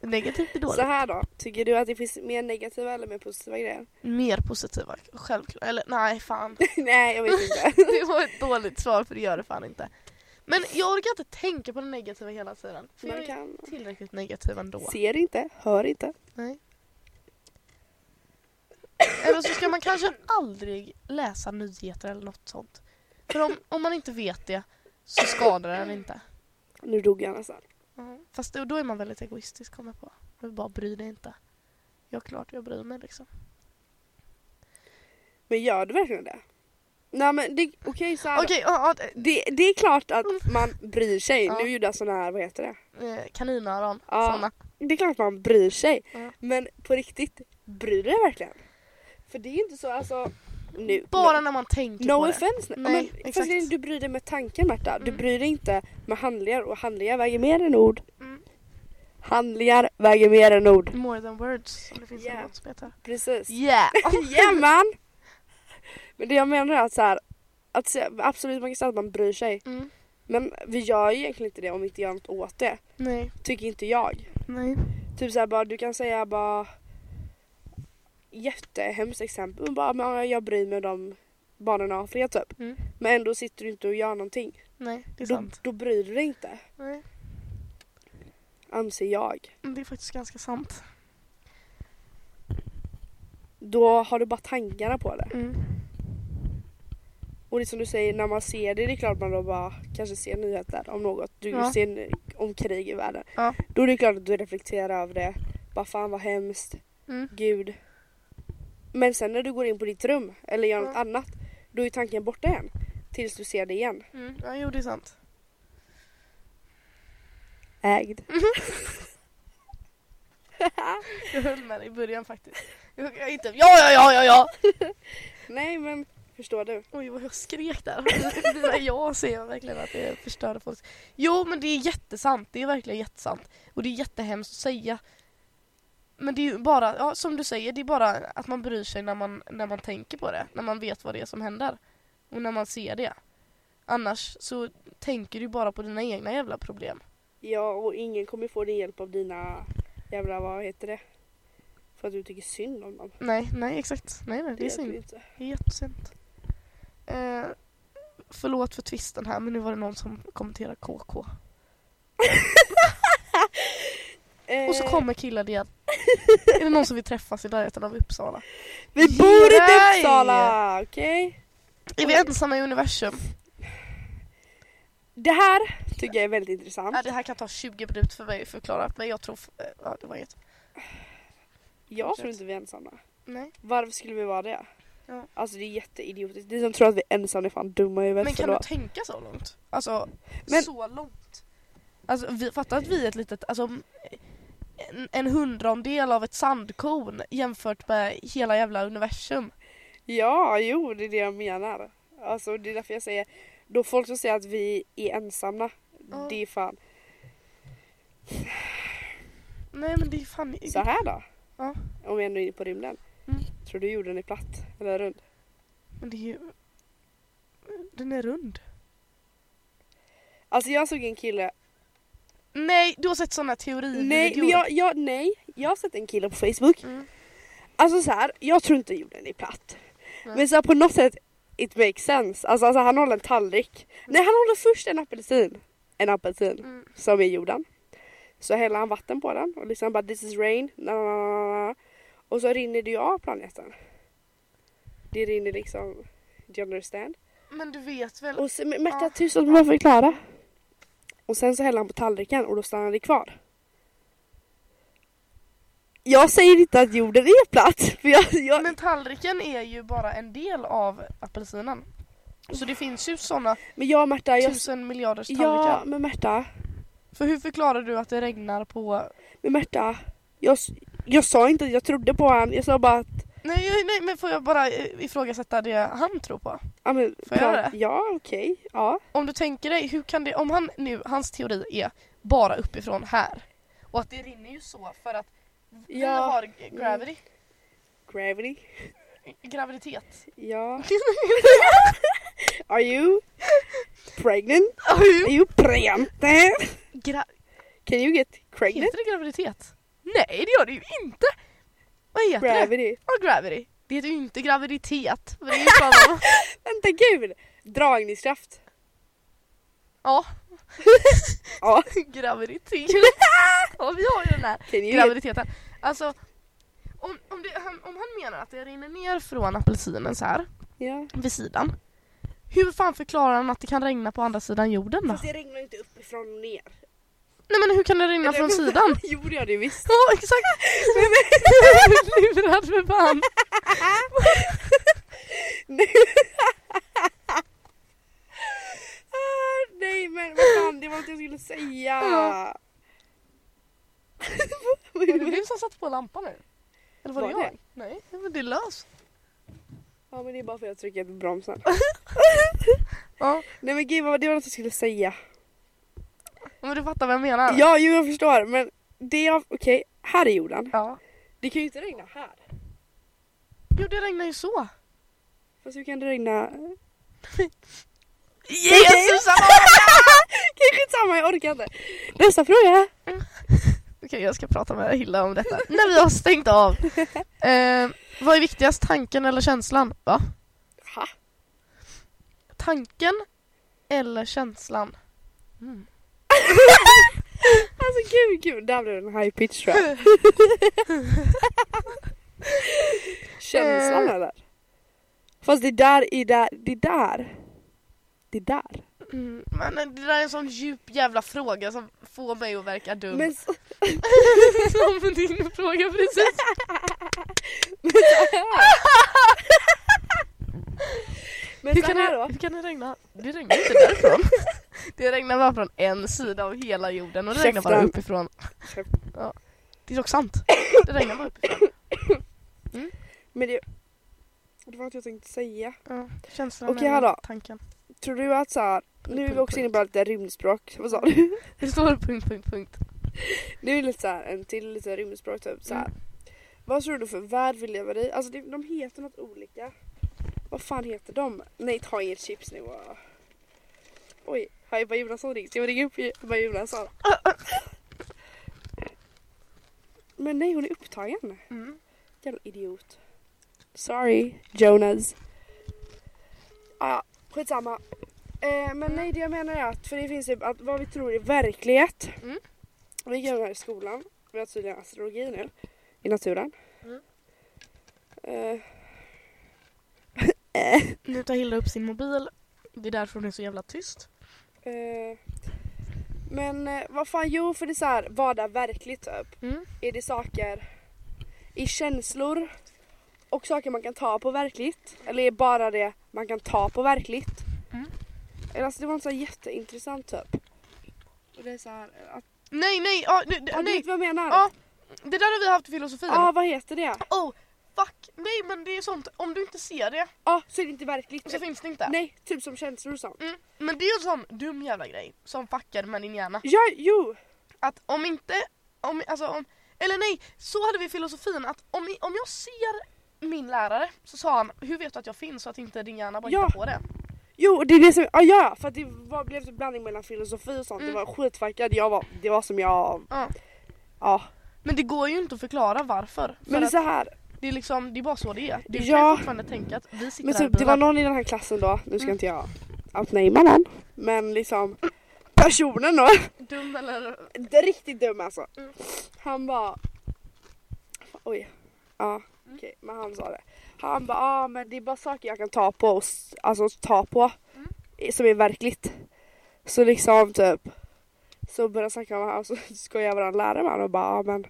[SPEAKER 2] Negativt är
[SPEAKER 4] Så
[SPEAKER 2] dåligt.
[SPEAKER 4] här då, tycker du att det finns mer negativa eller mer positiva grejer?
[SPEAKER 2] Mer positiva, självklart. Eller nej,
[SPEAKER 4] (laughs)
[SPEAKER 2] fan.
[SPEAKER 4] Nej jag vet
[SPEAKER 2] (laughs)
[SPEAKER 4] inte.
[SPEAKER 2] Det var ett dåligt svar för det gör det fan inte. Men jag orkar inte tänka på det negativa hela tiden. För jag
[SPEAKER 4] Man
[SPEAKER 2] är
[SPEAKER 4] kan...
[SPEAKER 2] tillräckligt negativ ändå.
[SPEAKER 4] Ser inte, hör inte.
[SPEAKER 2] Nej. Eller så ska man kanske aldrig läsa nyheter eller något sånt. För om, om man inte vet det så skadar den inte.
[SPEAKER 4] Nu dog jag nästan. Mm.
[SPEAKER 2] Fast då, då är man väldigt egoistisk kommer jag på. Du bara bryr dig inte. Jag är klart jag bryr mig liksom.
[SPEAKER 4] Men gör du verkligen det? Nej men det, okej så här. då.
[SPEAKER 2] Okej, ja, ja,
[SPEAKER 4] Det, det är klart att man bryr sig.
[SPEAKER 2] Ja.
[SPEAKER 4] Nu gjorde jag sån här, vad heter det?
[SPEAKER 2] eh, kaninöron.
[SPEAKER 4] Ja.
[SPEAKER 2] Såna.
[SPEAKER 4] Det är klart att man bryr sig.
[SPEAKER 2] Ja.
[SPEAKER 4] Men på riktigt, bryr du dig verkligen? För det är ju inte så alltså nu.
[SPEAKER 2] Bara
[SPEAKER 4] no,
[SPEAKER 2] när man tänker
[SPEAKER 4] no
[SPEAKER 2] på det.
[SPEAKER 4] offense.
[SPEAKER 2] Nej,
[SPEAKER 4] Nej, men,
[SPEAKER 2] exakt.
[SPEAKER 4] fast det är- du bryr dig med tanken Märta. Du bryr dig inte med handlingar och handlingar väger mer än ord.
[SPEAKER 2] Mm.
[SPEAKER 4] Handlingar väger mer än ord.
[SPEAKER 2] More than words, som det finns en
[SPEAKER 4] Yeah.
[SPEAKER 2] låt som heter.
[SPEAKER 4] Precis. (laughs)
[SPEAKER 2] Yeah! Oh,
[SPEAKER 4] yeah man! Men det jag menar är att så här, att se- absolut man kan säga att man bryr sig.
[SPEAKER 2] Mm.
[SPEAKER 4] Men vi gör ju egentligen inte det om vi inte gör något åt det.
[SPEAKER 2] (laughs) Nej,
[SPEAKER 4] Tycker inte jag.
[SPEAKER 2] nej.
[SPEAKER 4] Typ såhär bara, du kan säga bara jättehemskt exempel. Men bara, men ja, jag bryr mig om barnen i Afrika typ.
[SPEAKER 2] Mm.
[SPEAKER 4] Men ändå sitter du inte och gör någonting.
[SPEAKER 2] Nej, det är
[SPEAKER 4] Då,
[SPEAKER 2] sant.
[SPEAKER 4] då bryr du dig inte.
[SPEAKER 2] Nej.
[SPEAKER 4] Anser jag.
[SPEAKER 2] Det är faktiskt ganska sant.
[SPEAKER 4] Då har du bara tankarna på det.
[SPEAKER 2] Mm.
[SPEAKER 4] Och det är som du säger, när man ser det, det är klart man då bara kanske ser nyheter om något. Du
[SPEAKER 2] Ja.
[SPEAKER 4] ser en- om krig i världen.
[SPEAKER 2] Ja.
[SPEAKER 4] Då är det klart att du reflekterar över det. Bara fan vad hemskt.
[SPEAKER 2] Mm.
[SPEAKER 4] Gud. Men sen när du går in på ditt rum eller gör något
[SPEAKER 2] Ja.
[SPEAKER 4] annat, då är ju tanken borta igen. Tills du ser det igen.
[SPEAKER 2] Mm. Ja, jo det är sant.
[SPEAKER 4] Ägd.
[SPEAKER 2] Jag höll med dig i början faktiskt. Jag, jag inte, ja, ja, ja, ja, ja!
[SPEAKER 4] Nej men, förstår du?
[SPEAKER 2] Oj vad jag skrek där. (laughs) Mina ja ser jag verkligen att det förstörde folk. Jo men det är jättesant, det är verkligen jättesant. Och det är jättehemskt att säga. Men det är ju bara, ja, som du säger, det är bara att man bryr sig när man, när man tänker på det. När man vet vad det är som händer. Och när man ser det. Annars så tänker du bara på dina egna jävla problem.
[SPEAKER 4] Ja, och ingen kommer få din hjälp av dina jävla, vad heter det? För att du tycker synd om dem.
[SPEAKER 2] Nej, nej exakt. Nej, nej det är
[SPEAKER 4] hjälper ju
[SPEAKER 2] synd.
[SPEAKER 4] inte.
[SPEAKER 2] Det är jättesynd. Eh, förlåt för twisten här men nu var det någon som kommenterade KK. Och så
[SPEAKER 4] Eh,
[SPEAKER 2] kommer killen
[SPEAKER 4] (laughs)
[SPEAKER 2] igen. är det någon som vill träffas i närheten av Uppsala?
[SPEAKER 4] Vi bor inte
[SPEAKER 2] Nej!
[SPEAKER 4] i Uppsala! Okej?
[SPEAKER 2] Är vi ensamma i universum?
[SPEAKER 4] Det här tycker jag är väldigt intressant.
[SPEAKER 2] Ja, det här kan ta 20 minuter för mig att förklara men jag tror... f- eh, Ja, det var inget.
[SPEAKER 4] Jag tror inte vi är ensamma.
[SPEAKER 2] Nej.
[SPEAKER 4] Varför skulle vi vara det?
[SPEAKER 2] Ja.
[SPEAKER 4] Alltså det är jätteidiotiskt. Ni som tror att vi är ensamma är fan dumma i huvudet.
[SPEAKER 2] Men kan du
[SPEAKER 4] förlåt.
[SPEAKER 2] tänka så långt? Alltså,
[SPEAKER 4] Men-
[SPEAKER 2] så långt? Alltså, vi, fatta att vi är ett litet... Alltså, en, en hundraondel av ett sandkorn jämfört med hela jävla universum.
[SPEAKER 4] Ja, jo, det är det jag menar. Alltså det är därför jag säger, då folk som säger att vi är ensamma,
[SPEAKER 2] Ja.
[SPEAKER 4] det är fan.
[SPEAKER 2] Nej men det är fan...
[SPEAKER 4] Så här då.
[SPEAKER 2] Ja.
[SPEAKER 4] Om vi ändå är inne på rymden.
[SPEAKER 2] Mm.
[SPEAKER 4] Tror du jorden är platt eller rund?
[SPEAKER 2] Men det är ju... Den är rund.
[SPEAKER 4] Alltså jag såg en kille,
[SPEAKER 2] Nej, du har sett sådana teorivideor.
[SPEAKER 4] nej, men jag, jag, nej, jag har sett en kille på Facebook.
[SPEAKER 2] Mm.
[SPEAKER 4] Alltså så här, jag tror inte jorden är platt.
[SPEAKER 2] Nej.
[SPEAKER 4] Men så här, på något sätt, it makes sense. Alltså, alltså han håller en tallrik. Nej han håller först en apelsin. En apelsin.
[SPEAKER 2] Mm.
[SPEAKER 4] som är jorden. Så häller han vatten på den och liksom bara this is rain. Na, na, na, na, na. Och så rinner det ju av planeten. Det rinner liksom, do you understand?
[SPEAKER 2] Men du vet väl?
[SPEAKER 4] Och sen, men Märta
[SPEAKER 2] Ja.
[SPEAKER 4] tyst låt mig förklara. Och sen så häller han på tallriken och då stannar det kvar. Jag säger inte att jorden är platt. (laughs) För jag, jag, men,
[SPEAKER 2] Men tallriken är ju bara en del av apelsinen. Så det finns ju sådana
[SPEAKER 4] jag och Märta, jag,
[SPEAKER 2] tusen miljarders tallrikar.
[SPEAKER 4] ja men Märta,
[SPEAKER 2] För hur förklarar du att det regnar på...
[SPEAKER 4] men Märta. Jag, s- jag sa inte att jag trodde på han. Jag sa bara att,
[SPEAKER 2] Nej, nej, nej men får jag bara eh, ifrågasätta det han tror på?
[SPEAKER 4] ja men.
[SPEAKER 2] Får jag göra det?
[SPEAKER 4] Ja okej, ja.
[SPEAKER 2] Om du tänker dig, hur kan det... Om han nu, hans teori är bara uppifrån här. Och att det rinner ju så för att vi
[SPEAKER 4] Ja.
[SPEAKER 2] har g- gravity.
[SPEAKER 4] Gravity. (laughs)
[SPEAKER 2] Graviditet. (laughs)
[SPEAKER 4] Ja. Are you pregnant? Are you pregnant?
[SPEAKER 2] Gra-
[SPEAKER 4] Can you get pregnant?
[SPEAKER 2] heter det graviditet? Nej det gör det ju inte! Vad heter det?
[SPEAKER 4] Gravity.
[SPEAKER 2] Ja, gravity. Det heter ju inte graviditet. För det är ju fan om...
[SPEAKER 4] Vänta gud! Dragningskraft.
[SPEAKER 2] Ja,
[SPEAKER 4] Ja.
[SPEAKER 2] graviditet. (laughs) ja, vi har ju den här
[SPEAKER 4] Can you get...
[SPEAKER 2] graviditeten. Alltså, okej om, om, det, han, om han menar att det rinner ner från apelsinen så här
[SPEAKER 4] Ja.
[SPEAKER 2] vid sidan. Hur fan förklarar han att det kan regna på andra sidan jorden då?
[SPEAKER 4] Fast det regnar ju inte uppifrån och ner.
[SPEAKER 2] Nej men hur kan det regna
[SPEAKER 4] Eller-
[SPEAKER 2] från
[SPEAKER 4] (laughs)
[SPEAKER 2] sidan?
[SPEAKER 4] jo det gör det ju visst.
[SPEAKER 2] Ja exakt! (laughs) Lurad för fan!
[SPEAKER 4] Nej. ah, nej men vad fan det var inte jag skulle säga.
[SPEAKER 2] Ja.
[SPEAKER 4] Vad
[SPEAKER 2] Är det
[SPEAKER 4] gjorde du?
[SPEAKER 2] du som satte på lampan nu? Eller var,
[SPEAKER 4] Var
[SPEAKER 2] det jag?
[SPEAKER 4] det?
[SPEAKER 2] Nej, men det är lös.
[SPEAKER 4] (laughs) ja men det är bara för att jag trycker på bromsen.
[SPEAKER 2] Ja,
[SPEAKER 4] Nej men gud vad det var något jag skulle säga.
[SPEAKER 2] men du fattar vad jag menar?
[SPEAKER 4] Ja jo jag förstår men det jag, okej här är jorden.
[SPEAKER 2] ja.
[SPEAKER 4] Det kan ju inte regna här.
[SPEAKER 2] Jo det regnar ju så!
[SPEAKER 4] Fast hur kan det regna? (laughs)
[SPEAKER 2] Jesus!
[SPEAKER 4] Kanske inte samma jag orkar inte. Nästa fråga.
[SPEAKER 2] Okej jag ska prata med Hilla om detta när vi har stängt
[SPEAKER 4] (laughs)
[SPEAKER 2] av. Eh, vad är viktigast, tanken eller känslan? Va?
[SPEAKER 4] Ha?
[SPEAKER 2] Tanken eller känslan?
[SPEAKER 4] Alltså gud gud, där blev det en high pitch
[SPEAKER 2] (laughs)
[SPEAKER 4] tror jag. Känslan
[SPEAKER 2] Eh.
[SPEAKER 4] eller? Fast det där är där, det där. Det där.
[SPEAKER 2] Mm, men det där är en sån djup jävla fråga som får mig att verka dum. (laughs)
[SPEAKER 4] Men så,
[SPEAKER 2] Som din fråga
[SPEAKER 4] (laughs)
[SPEAKER 2] precis.
[SPEAKER 4] men
[SPEAKER 2] Hur
[SPEAKER 4] så
[SPEAKER 2] kan,
[SPEAKER 4] här
[SPEAKER 2] det,
[SPEAKER 4] då.
[SPEAKER 2] hur kan det regna? Det regnar inte
[SPEAKER 4] (laughs)
[SPEAKER 2] därifrån. Det regnar bara från en sida av hela jorden och det regnar bara
[SPEAKER 4] Käften.
[SPEAKER 2] uppifrån.
[SPEAKER 4] Käften.
[SPEAKER 2] Ja. Det är dock sant. Det regnar bara uppifrån.
[SPEAKER 4] Men det, det var något jag tänkte säga.
[SPEAKER 2] Ja, känslan
[SPEAKER 4] Okej,
[SPEAKER 2] eller
[SPEAKER 4] hallå.
[SPEAKER 2] tanken.
[SPEAKER 4] Tror du att så här, nu är vi också inne på lite rymdspråk. Vad sa du?
[SPEAKER 2] Det står punkt, punkt, punkt.
[SPEAKER 4] Det är ju lite så här, en till lite rymdspråk typ så här. Vad tror du för värld vi lever i? Alltså det, de heter något olika. Vad fan heter de? Nej ta inget chips nu. och- Oj, har Ebba Jonasson ringt? Ska vi ringa upp Ebba Jonasson? Men nej hon är upptagen.
[SPEAKER 2] Mm.
[SPEAKER 4] Jävla idiot. Sorry Jonas. Ja, ja, skitsamma. Eh, men nej det jag menar är att, för det finns typ att vad vi tror är verklighet.
[SPEAKER 2] Mm.
[SPEAKER 4] Vi kan här i skolan, vi har tydligen astrologi nu i naturen.
[SPEAKER 2] Mm.
[SPEAKER 4] Eh,
[SPEAKER 2] Nu tar Hilda upp sin mobil. Det är därför hon är så jävla tyst.
[SPEAKER 4] eh, men eh, vad fan, jo för det är så här, vad är verkligt typ?
[SPEAKER 2] Mm.
[SPEAKER 4] Är det saker i känslor och saker man kan ta på verkligt? Eller är bara det man kan ta på verkligt?
[SPEAKER 2] Mm.
[SPEAKER 4] Eller Alltså det var en så här jätteintressant typ. Och det är så här, att,
[SPEAKER 2] Nej, nej, ja, nu-
[SPEAKER 4] ja, du
[SPEAKER 2] nej.
[SPEAKER 4] vet vad jag menar?
[SPEAKER 2] Ja, det där har vi haft i filosofin.
[SPEAKER 4] ah, vad heter det?
[SPEAKER 2] Oh, fuck. Nej, men det är sånt. Om du inte ser det
[SPEAKER 4] Ja, ah, så är det inte verkligt.
[SPEAKER 2] så finns det inte.
[SPEAKER 4] Nej, typ som känslor och sånt.
[SPEAKER 2] Mm. Men det är ju en sån dum jävla grej som fuckar med din hjärna.
[SPEAKER 4] Ja, jo!
[SPEAKER 2] Att om inte, om, alltså om, eller nej, så hade vi filosofin att om, om jag ser min lärare så sa han, hur vet du att jag finns så att inte din hjärna bara
[SPEAKER 4] Ja.
[SPEAKER 2] hittar på det?
[SPEAKER 4] Jo, det är det som, ah, ja, för att det var, blev en blandning mellan filosofi och sånt.
[SPEAKER 2] Mm.
[SPEAKER 4] Det var skitfackad. Jag var, det var som jag,
[SPEAKER 2] Ja.
[SPEAKER 4] ja.
[SPEAKER 2] Men det går ju inte att förklara varför. För
[SPEAKER 4] Men det är
[SPEAKER 2] att
[SPEAKER 4] så här,
[SPEAKER 2] det, är liksom, det är bara så det är. Du kan
[SPEAKER 4] Ja.
[SPEAKER 2] ju fortfarande tänka att vi sitter
[SPEAKER 4] men
[SPEAKER 2] här Mm. i
[SPEAKER 4] typ, det var
[SPEAKER 2] bilen.
[SPEAKER 4] någon i den här klassen då, nu ska inte jag outnamea någon, men liksom personen då,
[SPEAKER 2] dum eller...
[SPEAKER 4] det är riktigt dum alltså.
[SPEAKER 2] Mm.
[SPEAKER 4] Han bara, oj,
[SPEAKER 2] Mm.
[SPEAKER 4] ja, okej, men han sa det. Han bara, ja ah, men det är bara saker jag kan ta på och s- alltså ta på
[SPEAKER 2] Mm.
[SPEAKER 4] i- som är verkligt. Så liksom typ så började jag snacka med honom (laughs) och så skojade våran lärare med honom och bara ja men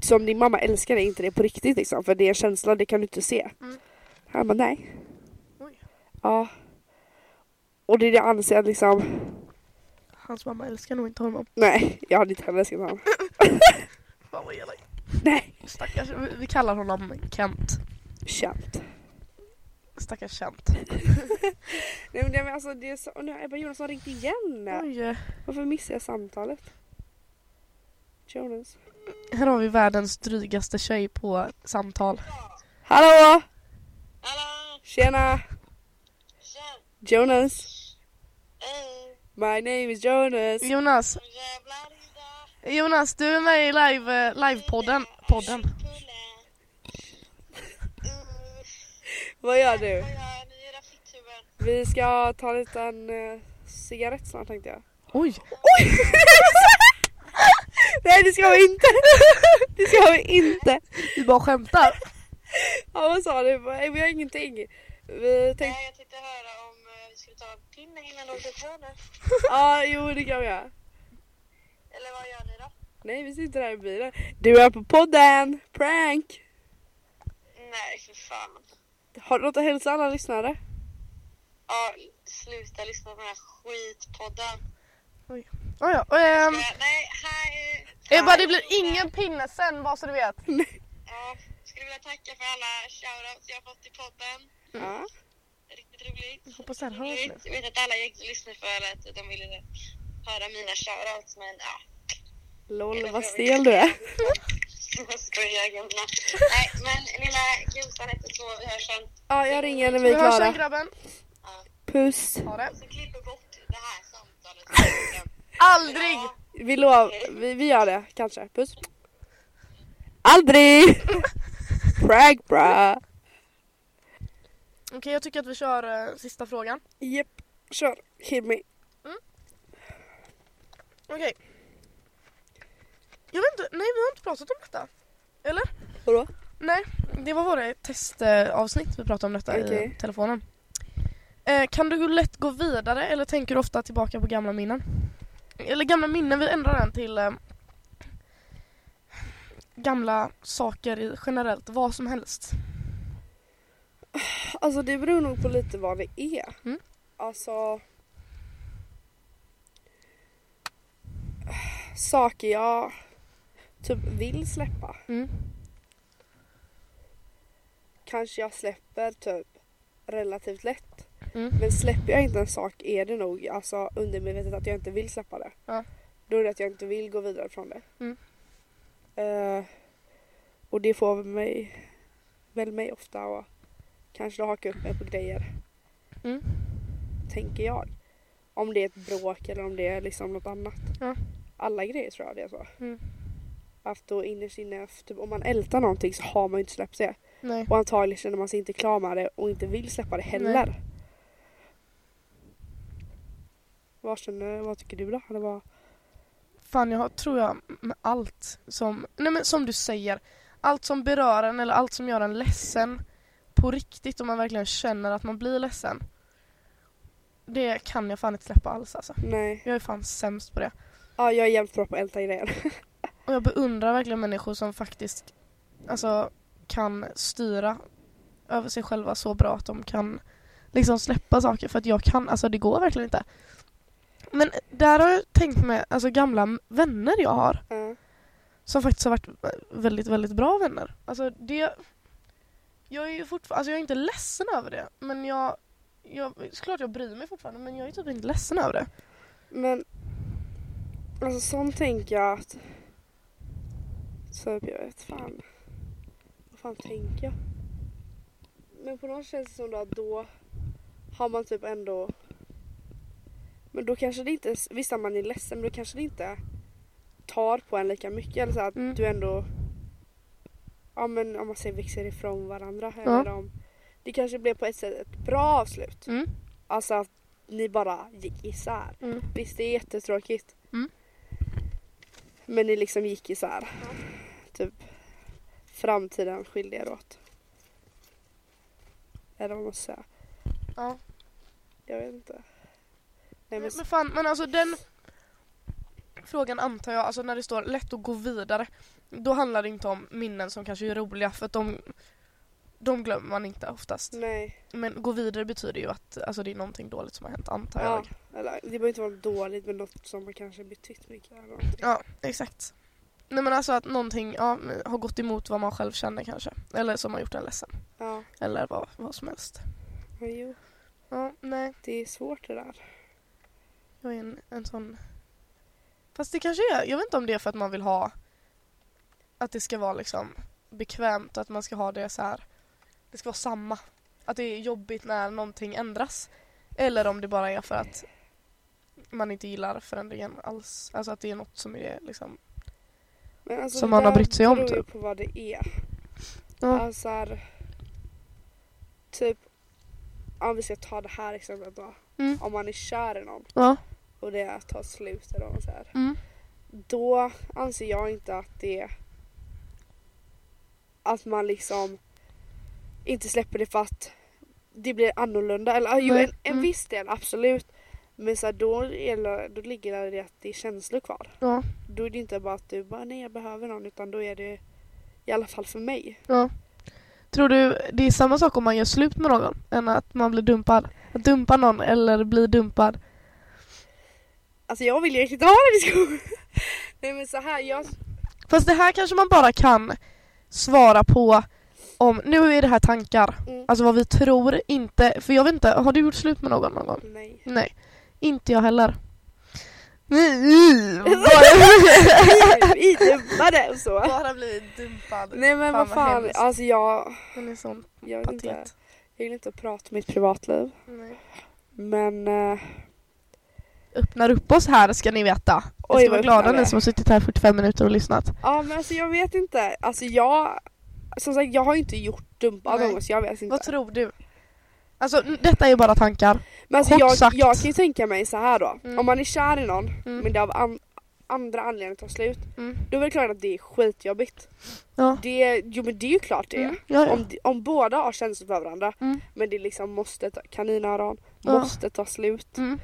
[SPEAKER 4] som din mamma älskar dig inte det på riktigt liksom för det är en känsla det kan du inte se.
[SPEAKER 2] Mm.
[SPEAKER 4] Han bara nej.
[SPEAKER 2] Oj.
[SPEAKER 4] Ja. Och det är det jag anser att liksom
[SPEAKER 2] Hans mamma älskar nog inte honom.
[SPEAKER 4] nej jag hade inte heller älskat honom.
[SPEAKER 2] Fan vad elakt.
[SPEAKER 4] Nej.
[SPEAKER 2] Stackars, vi- vi kallar honom Kent.
[SPEAKER 4] Känt.
[SPEAKER 2] Stackars Kent.
[SPEAKER 4] Nej men det, men alltså, det är så, och nu har Ebba Jonasson ringt igen.
[SPEAKER 2] Oj, eh,
[SPEAKER 4] Varför missar jag samtalet? Jonas.
[SPEAKER 2] här har vi världens drygaste tjej på samtal.
[SPEAKER 4] Hallå!
[SPEAKER 3] Hello,
[SPEAKER 4] Tjena!
[SPEAKER 3] chef.
[SPEAKER 4] Jonas.
[SPEAKER 3] Hey,
[SPEAKER 4] My name is Jonas.
[SPEAKER 2] Jonas,
[SPEAKER 3] jävlar idag.
[SPEAKER 2] Jonas, du är med i live, eh, livepodden. Podden.
[SPEAKER 3] Kulle. Mm,
[SPEAKER 4] Vad gör du?
[SPEAKER 3] Vad gör ni i era fitthuven?
[SPEAKER 4] Vi ska ta en liten eh, cigarett snart tänkte jag.
[SPEAKER 2] Oj!
[SPEAKER 4] (laughs) Nej det ska vi inte! Det ska vi inte!
[SPEAKER 2] Vi bara skämtar.
[SPEAKER 4] Ja vad sa du? Nej, Vi har ingenting. Vi tänkte...
[SPEAKER 3] Nej, jag tänkte höra om eh, vi skulle ta en pinne innan du åker på nu.
[SPEAKER 4] Ja jo det kan vi göra.
[SPEAKER 3] Eller vad gör ni då?
[SPEAKER 4] Nej vi sitter här i bilen. Du är på podden! Prank!
[SPEAKER 3] Nej, för fan.
[SPEAKER 4] Har du något att hälsa alla lyssnare? (laughs)
[SPEAKER 3] Ja, sluta lyssna på den här skitpodden.
[SPEAKER 2] Oj, oj, ehm,
[SPEAKER 3] Ja, nej, här är...
[SPEAKER 2] jag bara, det blir ingen pinne sen bara så du vet.
[SPEAKER 3] Ja, skulle vilja tacka för alla shoutouts jag har fått i podden.
[SPEAKER 4] Ja.
[SPEAKER 3] Riktigt roligt.
[SPEAKER 2] hoppas den hörs
[SPEAKER 3] Roligt. Jag vet att alla gäng som lyssnar för att de ville höra mina shoutouts, men ja. (laughs)
[SPEAKER 4] LOL vad stel du är.
[SPEAKER 3] Jag skojar gummorna. Nej, men lilla Gumsan heter så. Vi hörs sen.
[SPEAKER 4] Ja jag ringer när vi
[SPEAKER 2] Vi
[SPEAKER 4] är
[SPEAKER 2] hörs sen
[SPEAKER 4] klara.
[SPEAKER 2] grabben.
[SPEAKER 4] Puss!
[SPEAKER 2] Ha det.
[SPEAKER 3] Och så klipper bort det här samtalet.
[SPEAKER 2] Aldrig!
[SPEAKER 4] Vi lovar, vi, vi gör det kanske. Puss! Aldrig! Prank bra!
[SPEAKER 2] Okej jag tycker att vi kör eh, sista frågan.
[SPEAKER 4] Jep, kör. Hit me.
[SPEAKER 2] Okej. Jag vet inte, nej vi har inte pratat om detta. Eller?
[SPEAKER 4] Vadå?
[SPEAKER 2] Nej, det var våra testavsnitt vi pratade om detta i
[SPEAKER 4] Okej.
[SPEAKER 2] telefonen. Eh, kan du lätt gå vidare eller tänker du ofta tillbaka på gamla minnen? Eller gamla minnen, vi ändrar den till eh, gamla saker i- generellt, vad som helst.
[SPEAKER 4] Alltså det beror nog på lite vad det är.
[SPEAKER 2] Mm.
[SPEAKER 4] Alltså... Saker jag typ vill släppa.
[SPEAKER 2] Mm.
[SPEAKER 4] Kanske jag släpper typ relativt lätt.
[SPEAKER 2] Mm.
[SPEAKER 4] Men släpper jag inte en sak är det nog alltså undermedvetet att jag inte vill släppa det.
[SPEAKER 2] Ja.
[SPEAKER 4] Då är det att jag inte vill gå vidare från det.
[SPEAKER 2] Mm.
[SPEAKER 4] Eh, och det får väl mig, väl mig ofta att kanske då haka upp mig på grejer
[SPEAKER 2] Mm.
[SPEAKER 4] tänker jag. Om det är ett bråk eller om det är liksom något annat.
[SPEAKER 2] Ja.
[SPEAKER 4] Alla grejer tror jag det är så.
[SPEAKER 2] Mm.
[SPEAKER 4] Att då innerst inne, typ, om man ältar någonting så har man ju inte släppt det.
[SPEAKER 2] Nej.
[SPEAKER 4] Och antagligen känner man sig inte klar med det och inte vill släppa det heller. Vad, känner, vad tycker du då? Eller vad?
[SPEAKER 2] Fan jag har- tror jag med allt som, nej men som du säger, allt som berör en eller allt som gör en ledsen på riktigt om man verkligen känner att man blir ledsen. Det kan jag fan inte släppa alls alltså.
[SPEAKER 4] Nej.
[SPEAKER 2] Jag är fan sämst på det.
[SPEAKER 4] Ja, jag är jävligt bra på att älta grejer.
[SPEAKER 2] Och jag beundrar verkligen människor som faktiskt alltså, kan styra över sig själva så bra att de kan liksom släppa saker för att jag kan, alltså det går verkligen inte. Men där har jag tänkt med alltså gamla vänner jag har
[SPEAKER 4] Ja.
[SPEAKER 2] som faktiskt har varit väldigt, väldigt bra vänner. Alltså det... Jag är ju fortfarande, alltså jag är inte ledsen över det men jag, jag, såklart jag bryr mig fortfarande men jag är typ inte ledsen över det.
[SPEAKER 4] Men alltså sånt tänker jag att så jag vet fan. Vad fan tänker jag? Men på något känns det som då att då har man typ ändå men då kanske det inte, visst att man är ledsen men då kanske det inte tar på en lika mycket eller så att
[SPEAKER 2] Mm.
[SPEAKER 4] du ändå ja men om man säger växer ifrån varandra
[SPEAKER 2] Ja.
[SPEAKER 4] eller om det kanske blev på ett sätt ett bra avslut.
[SPEAKER 2] Mm.
[SPEAKER 4] Alltså att ni bara gick isär.
[SPEAKER 2] Mm.
[SPEAKER 4] Visst det är jättetråkigt.
[SPEAKER 2] Mm.
[SPEAKER 4] Men ni liksom gick isär. Typ framtiden skilde er åt. Eller vad man ska säga.
[SPEAKER 2] Ja.
[SPEAKER 4] Jag vet inte. Nej men,
[SPEAKER 2] Men fan, men alltså den frågan antar jag, alltså när det står lätt att gå vidare, då handlar det inte om minnen som kanske är roliga för att de, de glömmer man inte oftast.
[SPEAKER 4] nej.
[SPEAKER 2] Men gå vidare betyder ju att alltså, det är någonting dåligt som har hänt antar
[SPEAKER 4] Ja,
[SPEAKER 2] jag.
[SPEAKER 4] eller, det behöver inte vara dåligt men något som kanske betytt mycket. Eller någonting.
[SPEAKER 2] Ja, exakt. Nej men alltså att någonting ja, men har gått emot vad man själv känner kanske. Eller som har gjort en ledsen.
[SPEAKER 4] Ja.
[SPEAKER 2] Eller vad, vad som helst.
[SPEAKER 4] Men jo,
[SPEAKER 2] Ja, nej.
[SPEAKER 4] det är svårt det där.
[SPEAKER 2] Jag är en, en sån... Fast det kanske är, jag vet inte om det är för att man vill ha att det ska vara liksom bekvämt, att man ska ha det så här. Det ska vara samma. Att det är jobbigt när någonting ändras. Eller om det bara är för att man inte gillar förändringen alls. Alltså att det är något som är liksom...
[SPEAKER 4] Men alltså,
[SPEAKER 2] Som
[SPEAKER 4] det
[SPEAKER 2] man har
[SPEAKER 4] där
[SPEAKER 2] brytt sig om,
[SPEAKER 4] beror ju
[SPEAKER 2] typ.
[SPEAKER 4] på vad det är.
[SPEAKER 2] Ja.
[SPEAKER 4] Alltså här, typ om vi ska ta det här exemplet då.
[SPEAKER 2] Mm.
[SPEAKER 4] Om man är kär i någon
[SPEAKER 2] Ja.
[SPEAKER 4] och det tar slut eller vad man säger.
[SPEAKER 2] Mm.
[SPEAKER 4] då anser jag inte att det att man liksom inte släpper det för att det blir annorlunda. Eller, ah, jo,
[SPEAKER 2] Nej.
[SPEAKER 4] en, en
[SPEAKER 2] Mm.
[SPEAKER 4] viss del absolut. Men så här, då, gäller- då ligger det i att det är känslor kvar.
[SPEAKER 2] Ja,
[SPEAKER 4] Då är det inte bara att du bara nej jag behöver någon utan då är det i alla fall för mig.
[SPEAKER 2] ja. Tror du det är samma sak om man gör slut med någon än att man blir dumpad? Att dumpa någon eller bli dumpad?
[SPEAKER 4] Alltså jag vill ju inte ha en diskussion. (laughs) nej men så här, jag,
[SPEAKER 2] Fast det här kanske man bara kan svara på om, nu är det här tankar,
[SPEAKER 4] Mm.
[SPEAKER 2] alltså vad vi tror, inte, för jag vet inte, har du gjort slut med någon någon gång?
[SPEAKER 4] nej.
[SPEAKER 2] Nej, inte jag
[SPEAKER 4] (laughs)
[SPEAKER 2] heller. Nej, bara,
[SPEAKER 4] Vi dumpade och så.
[SPEAKER 2] bara bli dumpad.
[SPEAKER 4] Nej men vad fan,
[SPEAKER 2] hemskt.
[SPEAKER 4] alltså jag,
[SPEAKER 2] Den är sån
[SPEAKER 4] jag vill inte,
[SPEAKER 2] patet.
[SPEAKER 4] jag vill inte prata om mitt privatliv.
[SPEAKER 2] Nej.
[SPEAKER 4] Men eh,
[SPEAKER 2] Öppnar upp oss här ska ni veta.
[SPEAKER 4] Oj,
[SPEAKER 2] Oj, ska
[SPEAKER 4] vad
[SPEAKER 2] vara glada
[SPEAKER 4] öppnade.
[SPEAKER 2] ni som har suttit här 45 minuter och lyssnat.
[SPEAKER 4] ja men alltså jag vet inte. Alltså jag, som sagt jag har ju inte gjort dumpat
[SPEAKER 2] Nej.
[SPEAKER 4] någon gång så jag vet inte.
[SPEAKER 2] Vad tror du? Alltså n- detta är ju bara tankar.
[SPEAKER 4] Men alltså
[SPEAKER 2] Kort
[SPEAKER 4] jag,
[SPEAKER 2] sagt.
[SPEAKER 4] jag kan ju tänka mig så här då.
[SPEAKER 2] Mm.
[SPEAKER 4] Om man är kär i någon
[SPEAKER 2] Mm.
[SPEAKER 4] men det av an- andra anledningar tar slut.
[SPEAKER 2] Mm.
[SPEAKER 4] Då är det klart att det är skitjobbigt.
[SPEAKER 2] Ja.
[SPEAKER 4] Det, jo men det är ju klart det är.
[SPEAKER 2] Mm, ja, ja.
[SPEAKER 4] Om, de- om båda har känslor för varandra
[SPEAKER 2] Mm.
[SPEAKER 4] men det liksom måste ta, kaninöron,
[SPEAKER 2] Ja.
[SPEAKER 4] måste ta slut.
[SPEAKER 2] Mm.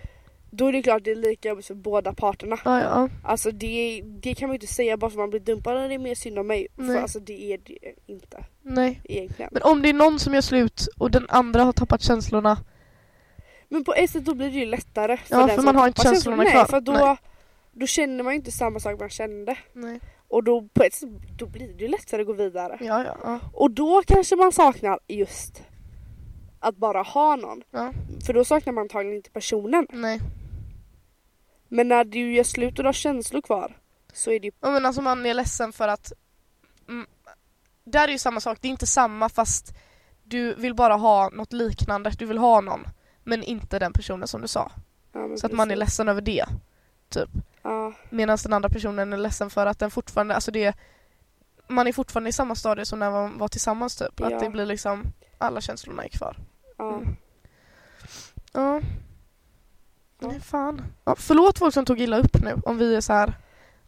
[SPEAKER 4] Då är det klart det är lika jobbigt för båda parterna.
[SPEAKER 2] Ja, ja.
[SPEAKER 4] Alltså det, det kan man ju inte säga bara för man blir dumpad "Nej, det är mer synd om mig.
[SPEAKER 2] Nej.
[SPEAKER 4] För alltså det är det inte
[SPEAKER 2] Nej.
[SPEAKER 4] egentligen.
[SPEAKER 2] Men om det är någon som gör slut och den andra har tappat känslorna.
[SPEAKER 4] Men på ett sätt då blir det ju lättare. För
[SPEAKER 2] Ja,
[SPEAKER 4] den
[SPEAKER 2] för
[SPEAKER 4] som
[SPEAKER 2] man har inte
[SPEAKER 4] tappar
[SPEAKER 2] känslorna
[SPEAKER 4] Nej,
[SPEAKER 2] kvar.
[SPEAKER 4] för då,
[SPEAKER 2] Nej.
[SPEAKER 4] då känner man ju inte samma sak man kände.
[SPEAKER 2] Nej.
[SPEAKER 4] Och då på ett sätt då blir det ju lättare att gå vidare.
[SPEAKER 2] Ja, ja. ja.
[SPEAKER 4] Och då kanske man saknar just att bara ha någon.
[SPEAKER 2] ja.
[SPEAKER 4] För då saknar man antagligen inte personen.
[SPEAKER 2] Nej.
[SPEAKER 4] Men när du gör slut och du har känslor kvar så är det ju...
[SPEAKER 2] Ja, men alltså man är ledsen för att... Mm, där är ju samma sak, det är inte samma fast du vill bara ha något liknande, du vill ha någon. Men inte den personen som du sa.
[SPEAKER 4] Ja, men
[SPEAKER 2] Så att man är
[SPEAKER 4] precis.
[SPEAKER 2] ledsen över det. typ.
[SPEAKER 4] Ja,
[SPEAKER 2] Medan den andra personen är ledsen för att den fortfarande, alltså det... Man är fortfarande i samma stadie som när man var tillsammans typ.
[SPEAKER 4] Ja.
[SPEAKER 2] Att det blir liksom, alla känslorna är kvar.
[SPEAKER 4] ja.
[SPEAKER 2] Mm. Ja.
[SPEAKER 4] Ja.
[SPEAKER 2] Nej fan. Ja, förlåt folk som tog illa upp nu om vi är så här.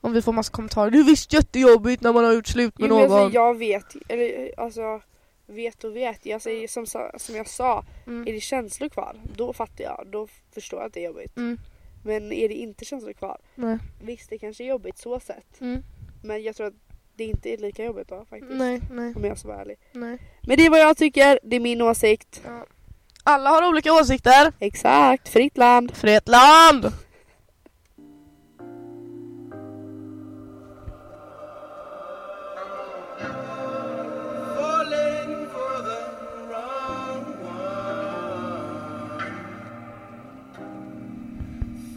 [SPEAKER 2] Om vi får massa kommentarer. Det är visst jättejobbigt när man har gjort slut med
[SPEAKER 4] Jo, men
[SPEAKER 2] någon.
[SPEAKER 4] alltså, jag vet, eller alltså vet och vet. Jag säger som, sa- som jag sa,
[SPEAKER 2] Mm.
[SPEAKER 4] är det känslor kvar då fattar jag, då förstår jag att det är jobbigt.
[SPEAKER 2] Mm.
[SPEAKER 4] Men är det inte känslor kvar,
[SPEAKER 2] Nej.
[SPEAKER 4] visst det kanske är jobbigt så sett.
[SPEAKER 2] Mm.
[SPEAKER 4] Men jag tror att det inte är lika jobbigt då faktiskt.
[SPEAKER 2] Nej, nej,
[SPEAKER 4] Om jag ska vara ärlig.
[SPEAKER 2] nej.
[SPEAKER 4] Men det är vad jag tycker, det är min åsikt.
[SPEAKER 2] Alla har olika åsikter.
[SPEAKER 4] Exakt, fritt land.
[SPEAKER 2] För det är ett land!
[SPEAKER 5] falling for the wrong one.